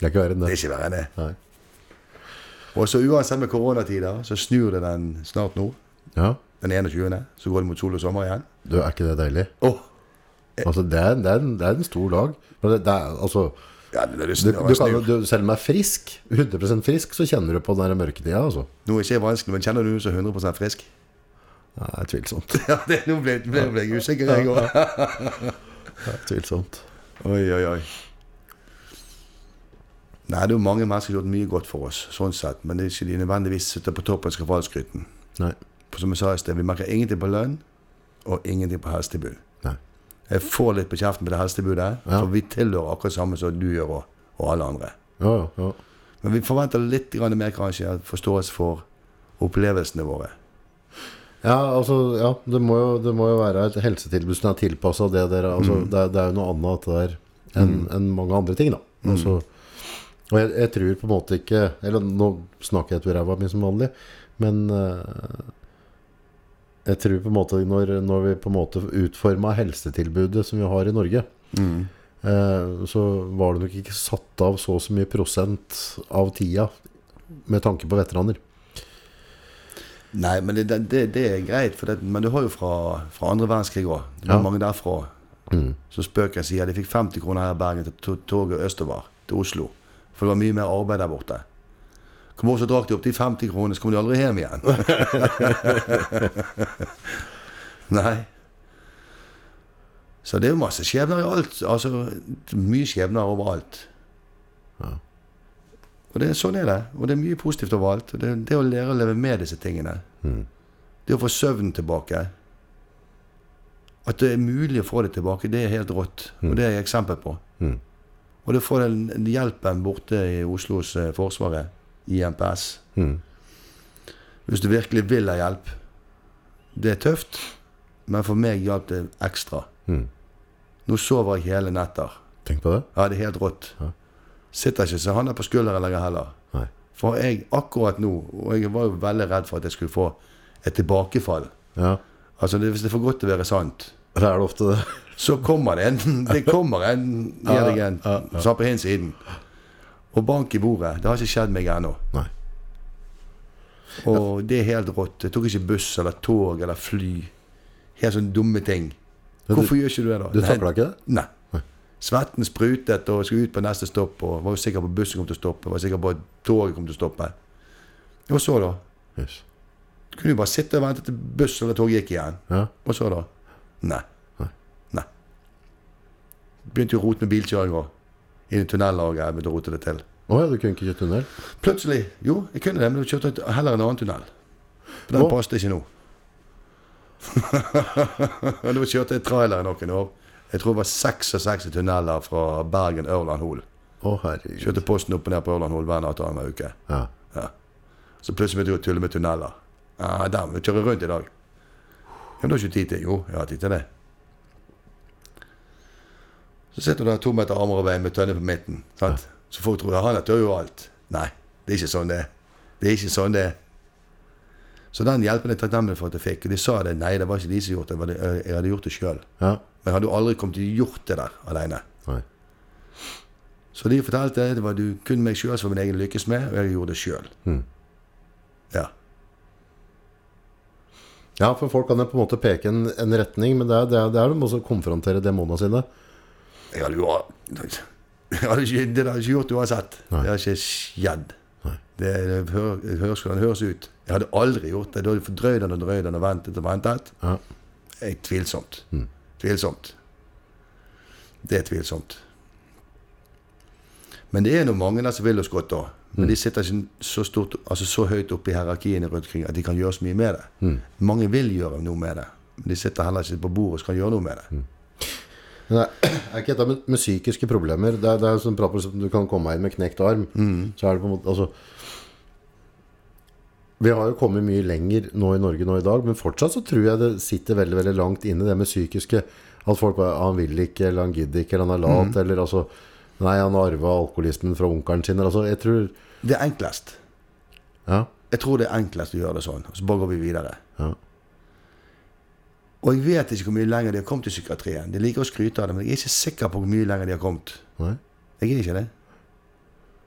Det er ikke verre enn
Det
det.
er ikke verre enn det.
Nei.
Og så uansett med koronatider, så snur det den snart nå.
Ja.
Den 21. Så går det mot sol og sommer igjen.
Du, er ikke det deilig?
Åh! Eh.
Altså, det er, det er, en, det er en stor dag. Men det, det er, altså
Ja, det er det
du,
snur,
du kan, jo-
snur.
du, selv om jeg er frisk, 100 frisk, så kjenner du på den der mørketida. Altså.
Nå er ikke jeg vanskelig, men kjenner du noen som er 100 frisk?
Det er tvilsomt.
Ja, det, nå ble, ble, ble jeg usikker, jeg òg.
Det er tvilsomt.
Oi, oi, oi. Nei, det er jo mange mennesker som har gjort mye godt for oss, sånn sett. Men det er ikke de nødvendigvis sitter på toppen av skafalskryten.
Nei.
For som jeg sa i sted, vi merker ingenting på lønn, og ingenting på helsetilbud.
Nei.
Jeg får litt på kjeften på det helsetilbudet,
Ja.
for vi tilhører akkurat samme som du gjør, og, og alle andre.
Ja, ja, ja.
Men vi forventer litt grann mer kanskje forståelse for opplevelsene våre.
Ja, altså, ja, det må jo, det må jo være et helsetilbud som er tilpassa det dere altså, det, er- det er jo noe annet dette der enn enn mange andre ting, da. Altså, og jeg, jeg tror på en måte ikke Eller nå snakker jeg etter ræva mi som vanlig, men eh, jeg tror på en måte når, når vi på en måte utforma helsetilbudet som vi har i Norge, Mm. eh, så var det nok ikke satt av så og så mye prosent av tida med tanke på veteraner.
Nei, men det, det, det er greit, for det, men du har jo fra, fra andre verdenskrig òg. Det var
Ja.
mange derfra som spøker sier de fikk 50 kroner her i Bergen til to- toget østover til Oslo. For det var mye mer arbeid der borte. Kom også og drakk de opp de 50 kronene, så kom de aldri hjem igjen. Nei. Så det er jo masse skjebner i alt. Altså, mye skjebner overalt. Og det, sånn er det. Og det er mye positivt overalt. Og det, det å lære å leve med disse tingene. Det å få søvnen tilbake. At det er mulig å få det tilbake, det er helt rått. Og det er jeg eksempel på. Og det å få den hjelpen borte i Oslos eh, Forsvaret, i NPS Hvis du virkelig vil ha hjelp. Det er tøft, men for meg hjalp det ekstra. Nå sover jeg hele netter.
Tenk på det.
Ja, det er helt rått. Sitter ikke så han er på skulderen lenger heller.
Nei.
For jeg akkurat nå, og jeg var jo veldig redd for at jeg skulle få et tilbakefall.
Ja.
Altså det, Hvis det er for godt til å være sant,
Det er det ofte det.
så kommer det en Det kommer en gir deg en som er på hin siden. Og bank i bordet. Det har ikke skjedd meg ennå.
Nei.
Og det er helt rått. Jeg tok ikke buss eller tog eller fly. Helt sånne dumme ting. Hvorfor gjør ikke du det, da?
Du
Nei.
takla ikke det?
Nei. Svetten sprutet og skulle ut på neste stopp. Og var jo sikker på at bussen kom til å stoppe. Var sikker på at toget kom til å stoppe. Og så, da?
Yes.
Du kunne jo bare sitte og vente til bussen eller toget gikk igjen.
Ja.
Og så, da? Nei. Nei. Begynte jo å rote med bilkjøring òg. Inn i tunneler og greier. Begynte å rote det til.
Å ja, du kunne ikke kjøre tunnel?
Plutselig Jo, jeg kunne det, men jeg kjørte et- heller en annen tunnel. For den
Hva?
passet ikke nå. Og Nå kjørte jeg trailer i noen år. Jeg tror det var 66 tunneler fra Bergen Ørland Hol.
Å herregud.
Kjørte posten opp og ned på Ørland Hol hver natt og annenhver uke.
Ja.
Så plutselig begynte jeg å tulle med tunneler. Ja, den, vi kjører rundt i dag. Ja, men du har ikke tid til Jo, jeg har tid til det. Så sitter du der to meter armer og vei med tønne på midten. Sant? Så folk tror ja, han er tør jo alt. Nei, det er ikke sånn det er. Det er ikke sånn det er. Så den hjelpen er jeg takknemlig for at jeg fikk. Og de sa det. Nei, det var ikke de som gjorde det. det. var det- Jeg hadde gjort det sjøl.
ja.
Men jeg hadde jo aldri kommet til å gjort det der aleine.
Nei.
Så de fortalte det var du kun meg sjøl som min egen lykkes med, og jeg gjorde det sjøl. Ja.
Ja, for folk kan jo på en måte peke en, en retning, men det er, det er, det er de også å konfrontere demonene sine.
Jeg hadde jo jeg hadde ikke, Det hadde jeg ikke gjort uansett.
Nei.
Det hadde ikke skjedd.
Nei.
Det, det hører, det høres hvordan det høres ut. Jeg hadde aldri gjort det. Da hadde jeg fordrøyd den og drøyd den og ventet og ventet.
Ja. Mm.
Eh, tvilsomt. Tvilsomt. Det er tvilsomt. Men det er nå mange der som vil oss godt da. Men
Mm.
de sitter ikke så, stort, altså så høyt oppe i hierarkiene rundt omkring at de kan gjøre så mye med det.
Mm.
Mange vil gjøre noe med det, men de sitter heller ikke på bordet og skal gjøre noe med
Mm.
det.
Men det er, er ikke dette med, med psykiske problemer Det er, det er jo sånn prat på sånn, du kan komme inn med knekt arm. Så er det på en måte Altså Vi har jo kommet mye lenger nå i Norge nå i dag, men fortsatt så tror jeg det sitter veldig veldig langt inne, det med psykiske. At folk bare ah, 'Han vil ikke', eller 'han gidder ikke', eller 'han er lat', eller altså 'Nei, han har arva alkoholismen fra onkelen sin', eller altså Jeg tror
Det er enklest.
Ja.
Jeg tror det er enklest å gjøre det sånn, og så bare går vi videre.
Ja.
Og jeg vet ikke hvor mye lenger de har kommet i psykiatrien. De liker å skryte av det, men jeg er ikke sikker på hvor mye lenger de har kommet.
Nei.
Jeg er ikke det.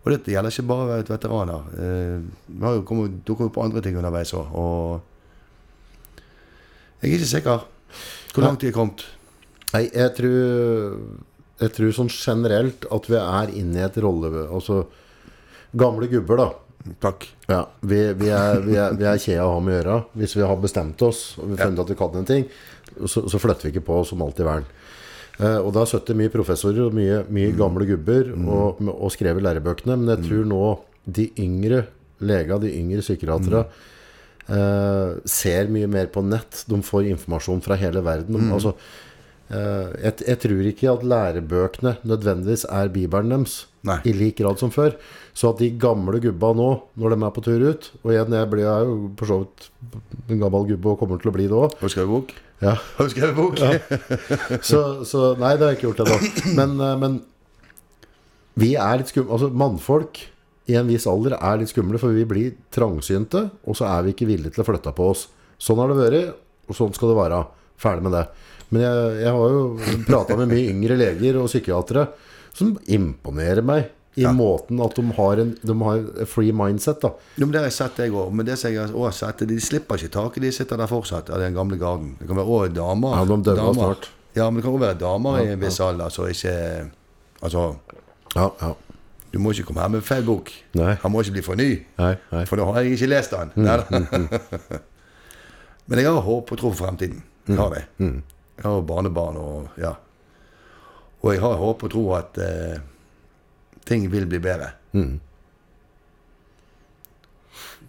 Og dette gjelder ikke bare veteraner. Eh, Vi har jo kommet, dukker jo på andre ting underveis òg, og Jeg er ikke sikker hvor langt de er kommet.
Nei, jeg tror, jeg tror sånn generelt at vi er inne i et rolle... Altså, gamle gubber da,
Takk.
Ja, vi, vi, er, vi, er, vi er kjeda å ha med å gjøre. Hvis vi har bestemt oss og vi funnet at vi kan en ting, så, så flytter vi ikke på som alltid vern. Eh, og da sitter mye professorer og mye, mye gamle gubber og, og skrev i lærebøkene, men jeg tror nå de yngre lega, de yngre psykiatere, eh, ser mye mer på nett. De får informasjon fra hele verden. De, altså, eh, jeg, jeg tror ikke at lærebøkene nødvendigvis er bibelen deres
Nei.
i lik grad som før. Så at de gamle gubba nå, når de er på tur ut Og igjen, jeg, blir, jeg er jo for så vidt en gammel gubbe og kommer til å bli det òg.
Har du skrevet bok?
Ja.
Har du skrevet bok?
Så, så nei, det har jeg ikke gjort ennå. Men, eh, men vi er litt skumle. Altså, mannfolk i en viss alder er litt skumle, for vi blir trangsynte, og så er vi ikke villige til å flytte på oss. Sånn har det vært, og sånn skal det være. Ferdig med det. Men jeg, jeg har jo prata med mye yngre leger og psykiatere som imponerer meg i måten at de har en de har en free mindset. da
Jo, men Det har jeg sett, jeg òg. Men det som jeg har også sett, de slipper ikke taket. De sitter der fortsatt, av den gamle garden. Det kan være også damer.
Ja, de dømmer
damer.
snart.
Ja, men det kan også være damer i en viss alder som ikke Altså,
Ja, ja.
du må ikke komme her med feil bok.
Nei.
Han må ikke bli for ny.
Nei, nei.
For da har jeg ikke lest den. Neida. men jeg har håp og tro for fremtiden. Jeg har det. Jeg har barnebarn og ja. Og jeg har håp og tro at eh, ting vil bli bedre.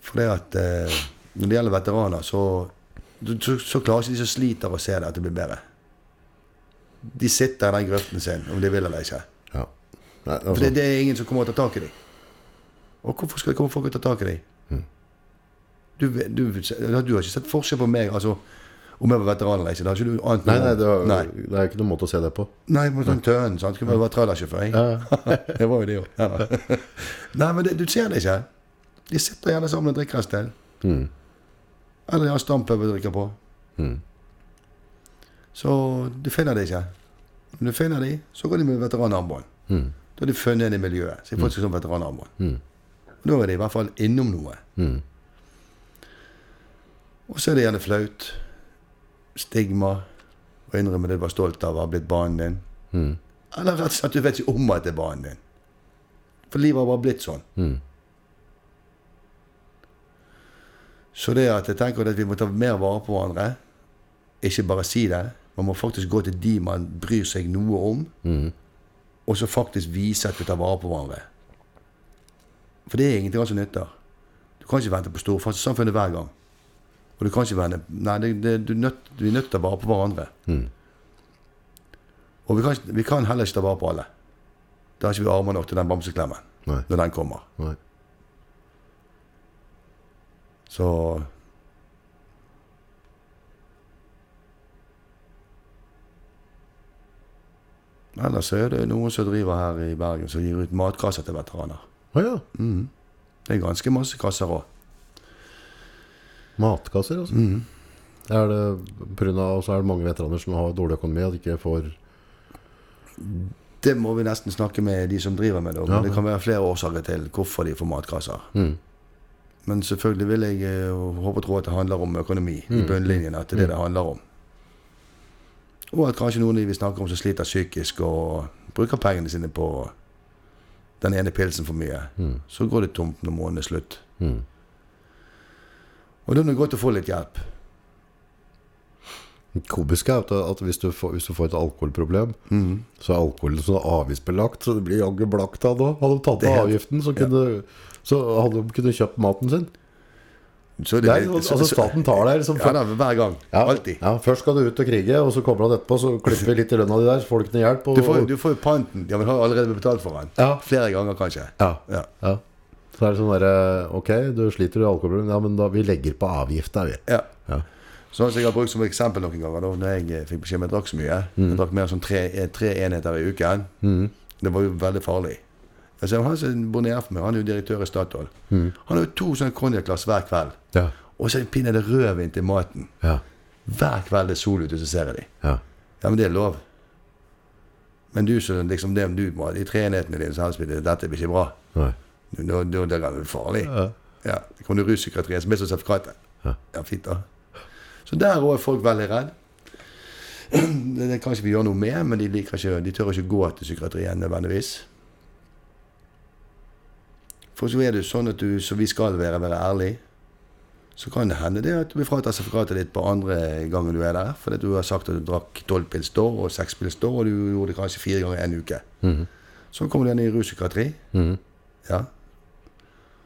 For det at eh, når det gjelder veteraner, så, så, så klarer ikke de som sliter å se det, at det blir bedre. De sitter i den grøften sin, om de vil eller ikke.
ja. Nei,
For
altså,
det, det er ingen som kommer og tar tak i deg. Og hvorfor skal komme folk og ta tak i deg?
Hm.
Du, vet- du, du har ikke sett forskjell på meg, altså om jeg var veteran eller ikke. Det har ikke du ant
nei, nei, det,
nei.
er, det er ikke noen måte å se det på.
Nei, men sånn tønn, sant? Kunne være trailersjåfør, jeg. det var jo det jo. Ja, da. Nei, men det, du ser det ikke. De sitter gjerne sammen og drikker et sted. Eller de har stampøb å drikke på. Mm. Så du finner det ikke. Når du finner de, så går de med veteranarmbånd. Da har de funnet en i miljøet. Så de får seg sånn veteranarmbånd. Og Da er de i hvert fall innom noe. Og så er det gjerne flaut. Stigma. Å innrømme det du var stolt av å ha blitt banen din. Eller rett og slett, du vet ikke om at det er banen din. For livet har bare blitt sånn. Så det at jeg tenker at vi må ta mer vare på hverandre, ikke bare si det. Man må faktisk gå til de man bryr seg noe om, og så faktisk vise at vi tar vare på hverandre. For det er egentlig hva som nytter. Du kan ikke vente på storsamfunnet hver gang. Og du kan ikke vende Nei, det, det, du nødt, vi er nødt til å ta vare på hverandre. Og vi kan, ikke- vi kan heller ikke ta vare på alle. Da har ikke vi armer nok til den bamseklemmen
Nei.
når den kommer.
Nei.
Så Ellers så er det noen som driver her i Bergen som gir ut matkasser til veteraner.
Å ja.
Det er ganske masse kasser òg.
Matkasser, altså. Er det på grunn av, så er det mange veteraner som har dårlig økonomi og ikke får
Det må vi nesten snakke med de som driver med det. om.
Ja. Mm.
Det kan være flere årsaker til hvorfor de får matkasser. Men selvfølgelig vil jeg eh, håpe og tro at det handler om økonomi
Mm.
i bunnlinjen. At det er det det handler om. Og at kanskje noen av de vi snakker om som sliter psykisk og bruker pengene sine på den ene pilsen for mye,
Mm.
så går det tomt når måneden er slutt. Og da er det godt å få litt hjelp.
Det Komiske er at, at hvis, du får, hvis du får et alkoholproblem,
Mhm.
så er alkoholen sånn avgiftsbelagt, så det blir jaggu blakt av da. Hadde de tatt
Det
av
er-
avgiften, så, kunne, så hadde de kunnet kjøpt maten sin.
Så
Det er, altså, staten tar det her liksom.
Ja da, hver gang. Alltid.
Ja, først skal du ut og krige, og så kommer han etterpå, så klipper vi litt i lønna di der, så får du ikke noe hjelp. Og,
Du får, du får jo panten. Ja, men har allerede betalt for den.
Ja.
Flere ganger, kanskje.
Ja.
Ja.
ja. Så er det sånn derre Ok, du sliter med alkoholproblem, ja, men da, vi legger på avgifta, vi.
Ja.
Ja.
Sånn som jeg har brukt som eksempel noen ganger, da når jeg eh, fikk beskjed om jeg drakk så mye. Jeg drakk mer enn sånn tre, eh, tre enheter i uken. Det var jo veldig farlig. Altså, Jeg ser, han som bor nede for meg, han er jo direktør i Statoil. Han har jo to sånne konjakkglass hver kveld.
Ja.
Og så pinner det rødvin til maten.
Ja.
Hver kveld det er sol ute, så ser jeg dem.
Ja.
Ja, men det er lov. Men du som liksom det om du må, de tre enhetene dine som helst, dette blir ikke bra.
Nei.
Da, da, da er det farlig.
Ja.
Ja, det kommer til ruspsykiatrien som er så separat.
Ja.
Ja, fint da. Så der også er folk veldig redd. Det det kan ikke vi gjøre noe med, men de, liker ikke, de tør ikke gå til psykiatrien nødvendigvis. For så er det jo sånn at du, som vi skal være, være ærlig, så kan det hende det at du blir fratatt sertifikatet ditt på andre gangen du er der, fordi at du har sagt at du drakk tolv pils da, og seks pils da, og du gjorde det kanskje fire ganger en uke.
Mhm.
Så kommer du inn i ruspsykiatri. Ja.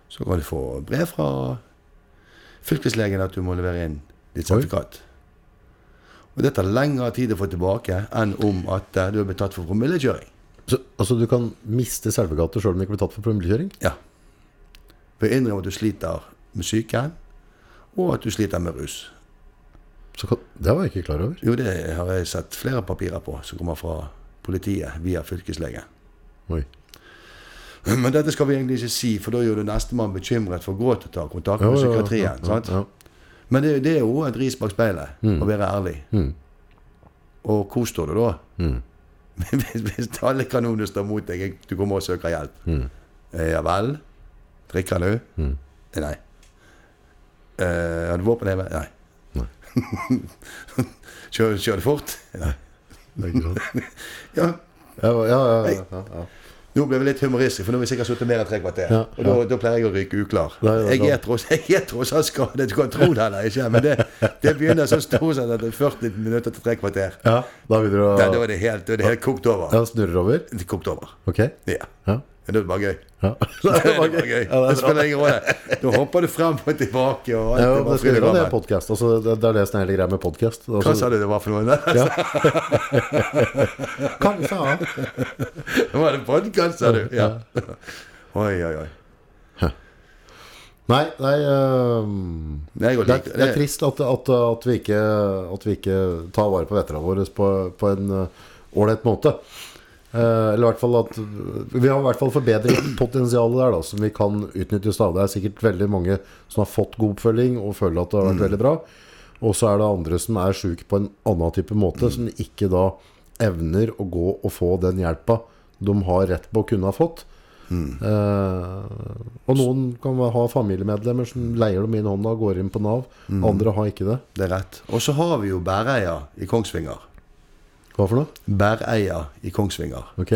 Så kan du få brev fra fylkeslegen at du må levere inn ditt
Oi.
sertifikat. Og dette tar lengre tid å få tilbake enn om at eh, du er blitt tatt for promillekjøring.
Så, altså du kan miste sertifikatet selv om du ikke blir tatt for promillekjøring?
Ja. For jeg innrømmer at du sliter med psyken, og at du sliter med rus.
Så kan- Det var jeg ikke klar over.
Jo, det har jeg sett flere papirer på som kommer fra politiet via fylkeslegen.
Oi.
Men dette skal vi egentlig ikke si, for da gjør du nestemann bekymret for å gå til å ta kontakt
Ja,
med
ja, ja,
psykiatrien.
ja,
sant?
ja.
Men det, det er jo et ris bak speilet, å være ærlig. Og hvor står du da? Hvis, hvis alle kanonene står mot deg, du kommer og søker hjelp. Eh, ja vel? Drikker du? Eh, Nei. Eh, har du våpenheve? Nei. kjører, kjører du fort? Nei.
Det er ikke sant.
Ja,
Ja, ja, ja, ja, ja, ja.
Nå ble vi litt humoristiske, for nå har vi sikkert sittet mer enn tre kvarter.
Ja,
og da, da pleier jeg å ryke uklar.
Nei, det er
jeg,
bra.
er tross, jeg er tross alt skadet, du kan tro det eller ikke, men det, det begynner så stort sett etter 40 minutter til tre kvarter.
ja. Da begynner du å
Da, da er det helt, da er det helt kokt over.
ja, snurrer over?
Det er Kokt over.
Ok.
Ja.
Ja.
Men da er det bare gøy.
ja.
Da er det
var
bare gøy.
Ja, det
Det
er bra.
spiller ingen rolle. Da hopper du frem og tilbake og alt
Ja,
er
men det
bare
skal
fryd og
gjøre det er
gammen.
podcast. Altså, det, det er det som er hele greia med podcast.
Hva
Altså,
sa du det var for noe?
kanskje, ja.
Var det podkast, sa du? Ja. Oi, oi, oi.
Nei, nei øhm,
Nei, jeg
det, er,
liker-
det er trist at, at, at, vi ikke, at vi ikke tar vare på veteranene våre på, på en øh, ålreit måte. Eh, eller i hvert fall at Vi har i hvert fall forbedringspotensialet der da, som vi kan utnytte stadig. Det er sikkert veldig mange som har fått god oppfølging og føler at det har vært veldig bra. Og så er det andre som er syke på en annen type måte, som ikke da evner å gå og få den hjelpa de har rett på å kunne ha fått. Eh, og noen kan ha familiemedlemmer som leier dem inn i hånda og går inn på Nav. Andre har ikke det.
Det er rett. Og så har vi jo Bæreia i Kongsvinger.
Hva for noe?
Bæreia i Kongsvinger.
Ok.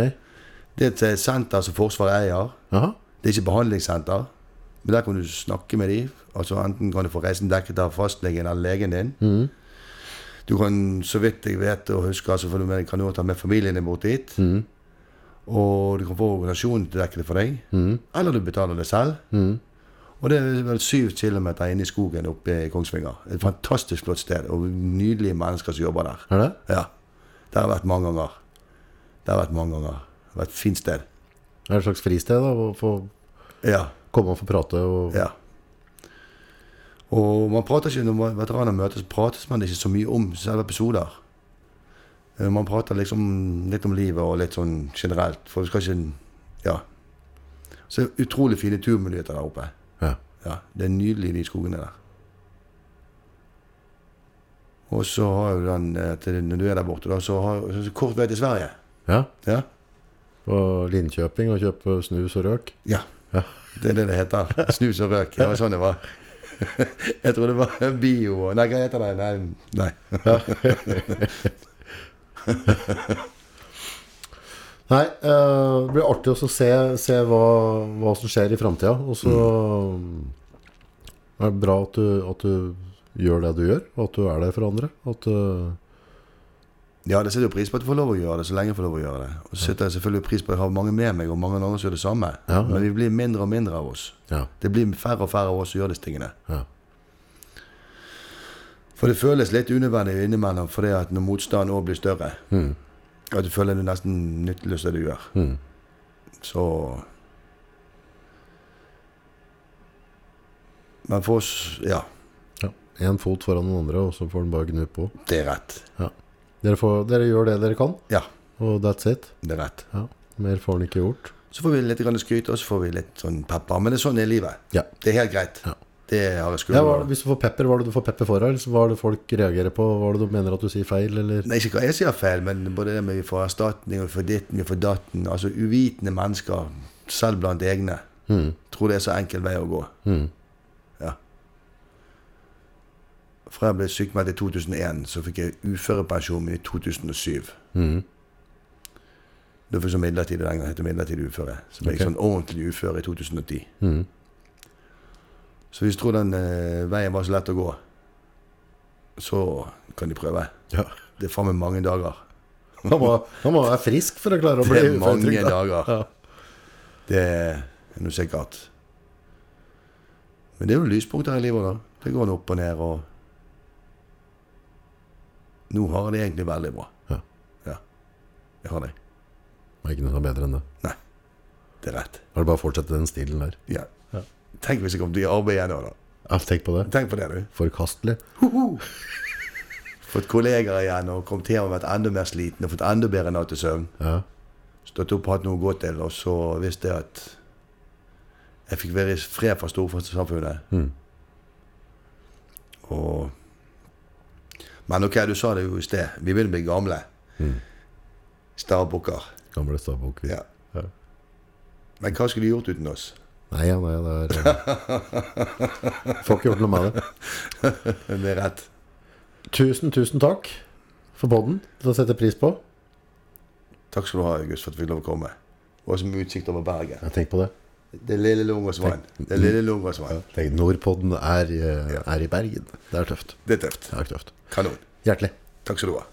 Det er et eh, senter som Forsvaret eier.
Jaha.
Det er ikke behandlingssenter. Men der kan du snakke med dem. Altså enten kan du få reisen dekket av fastlegen eller legen din.
Mm.
Du kan, så vidt jeg vet og husker, så får du med, kan du også ta med familien din bort dit.
Mm.
Og du kan få organisasjonen til å dekke det for deg.
Mm.
Eller du betaler det selv. Og det er vel syv kilometer inne i skogen oppe i Kongsvinger. Et fantastisk flott sted. Og nydelige mennesker som jobber der.
Er det?
Ja. Det har jeg vært mange ganger. Det har jeg vært mange ganger. Det har vært et fint sted.
Er det et slags fristed da, å få
Ja.
komme og få prate? Og...
ja. Og man prater ikke, når man- veteraner møtes, prates man ikke så mye om selve episoder. Eh, Man prater liksom litt om livet og litt sånn generelt, for du skal ikke Ja. Så det er utrolig fine turmuligheter der oppe.
Ja.
Ja, Det er nydelig, de skogene der. Og så har jo den eh, til, Når du er der borte, da, så har så kort vei til Sverige.
ja.
Ja.
På Linkjøping og kjøpe snus og røk?
Ja.
Ja.
Det er det det heter. Snus og røk. Det var sånn det var. Jeg tror det var bio og Nei, hva heter det? Nei. nei.
Nei, eh, det blir artig også å se, se hva, hva som skjer i framtida. Og så Mm. eh, er det bra at du, at du gjør det du gjør, og at du er der for andre. At, eh,
Ja, det setter jeg pris på at du får lov å gjøre det, så lenge jeg får lov å gjøre det. Og så setter jeg selvfølgelig pris på at jeg har mange med meg, og mange andre som gjør det samme.
Ja, ja.
Men vi blir mindre og mindre av oss.
ja,
Det blir færre og færre av oss som gjør disse tingene.
ja.
For det føles litt unødvendig innimellom fordi at når motstanden òg blir større, at du føler det er nesten nytteløst det du gjør. Så Men for oss Ja,
ja. En fot foran den andre, og så får den bare gnu på.
det er rett.
Ja. Dere, får, dere gjør det dere kan,
Ja,
og that's it.
det er rett.
Ja. Mer får den ikke gjort.
Så får vi litt grann skryt, og så får vi litt sånn pepper. Men det er sånn er livet.
Ja.
Det er helt greit.
Ja.
Det har jeg
Ja,
skulder
hva, er det- hvis du får pepper, hva er det du får pepper for? her? Hva er det folk reagerer på? Hva er det de mener at du sier feil? Eller?
Nei, ikke hva jeg sier feil, men både det med vi får erstatning, og vi får ditten, vi får datten. Altså uvitende mennesker, selv blant egne, tror det er så enkel vei å gå. Ja. Fra jeg ble sykemeldt i 2001, så fikk jeg uførepensjon min i 2007. Det var sånn midlertidig den gangen, het det midlertidig uføre. Så ble jeg
Ok.
sånn ordentlig ufør i 2010. Så hvis du tror den eh, veien var så lett å gå, så kan de prøve.
Ja.
Det er faen meg mange dager.
Han må, han må være frisk for å klare
Det
å bli
er mange
uføretrygda.
dager.
Ja.
Det er noe sikkert. Men det er jo lyspunkter i livet, da. Det går nå opp og ned, og Nå har jeg det egentlig veldig bra.
Ja.
Ja. Jeg har det.
Det er ikke noe bedre enn det.
Nei. Det er rett.
Da er det bare å fortsette den stilen der.
Ja. Tenk hvis jeg kommer til å arbeide igjen nå, da.
Ja, tenk på det.
Tenk på det, du.
Forkastelig.
Fått kolleger igjen og kommet hjem og vært enda mer sliten og fått enda bedre natt til søvn.
Ja.
Stått opp og hatt noe å gå til, og så visste jeg at jeg fikk være i fred fra storsamfunnet. Og Men ok, du sa det jo i sted. Vi begynner å bli gamle. Starbukker.
Gamle stavbok.
Ja.
Ja.
Men hva skulle de gjort uten oss?
Nei, ja, nei, det er eh, Får ikke gjort noe med det.
Det er rett.
Tusen, tusen takk for podden. Det setter jeg pris på.
Takk skal du ha, August, for at vi fikk lov å komme. Og som utsikt over Bergen.
Jeg tenker på det.
Det er lille Lungåsvann. Det er lille Lungåsvann.
Tenk, Nordpodden er, eh, er i Bergen. Det er tøft.
Det er tøft.
Det er tøft.
Kanon.
Hjertelig.
Takk skal du ha.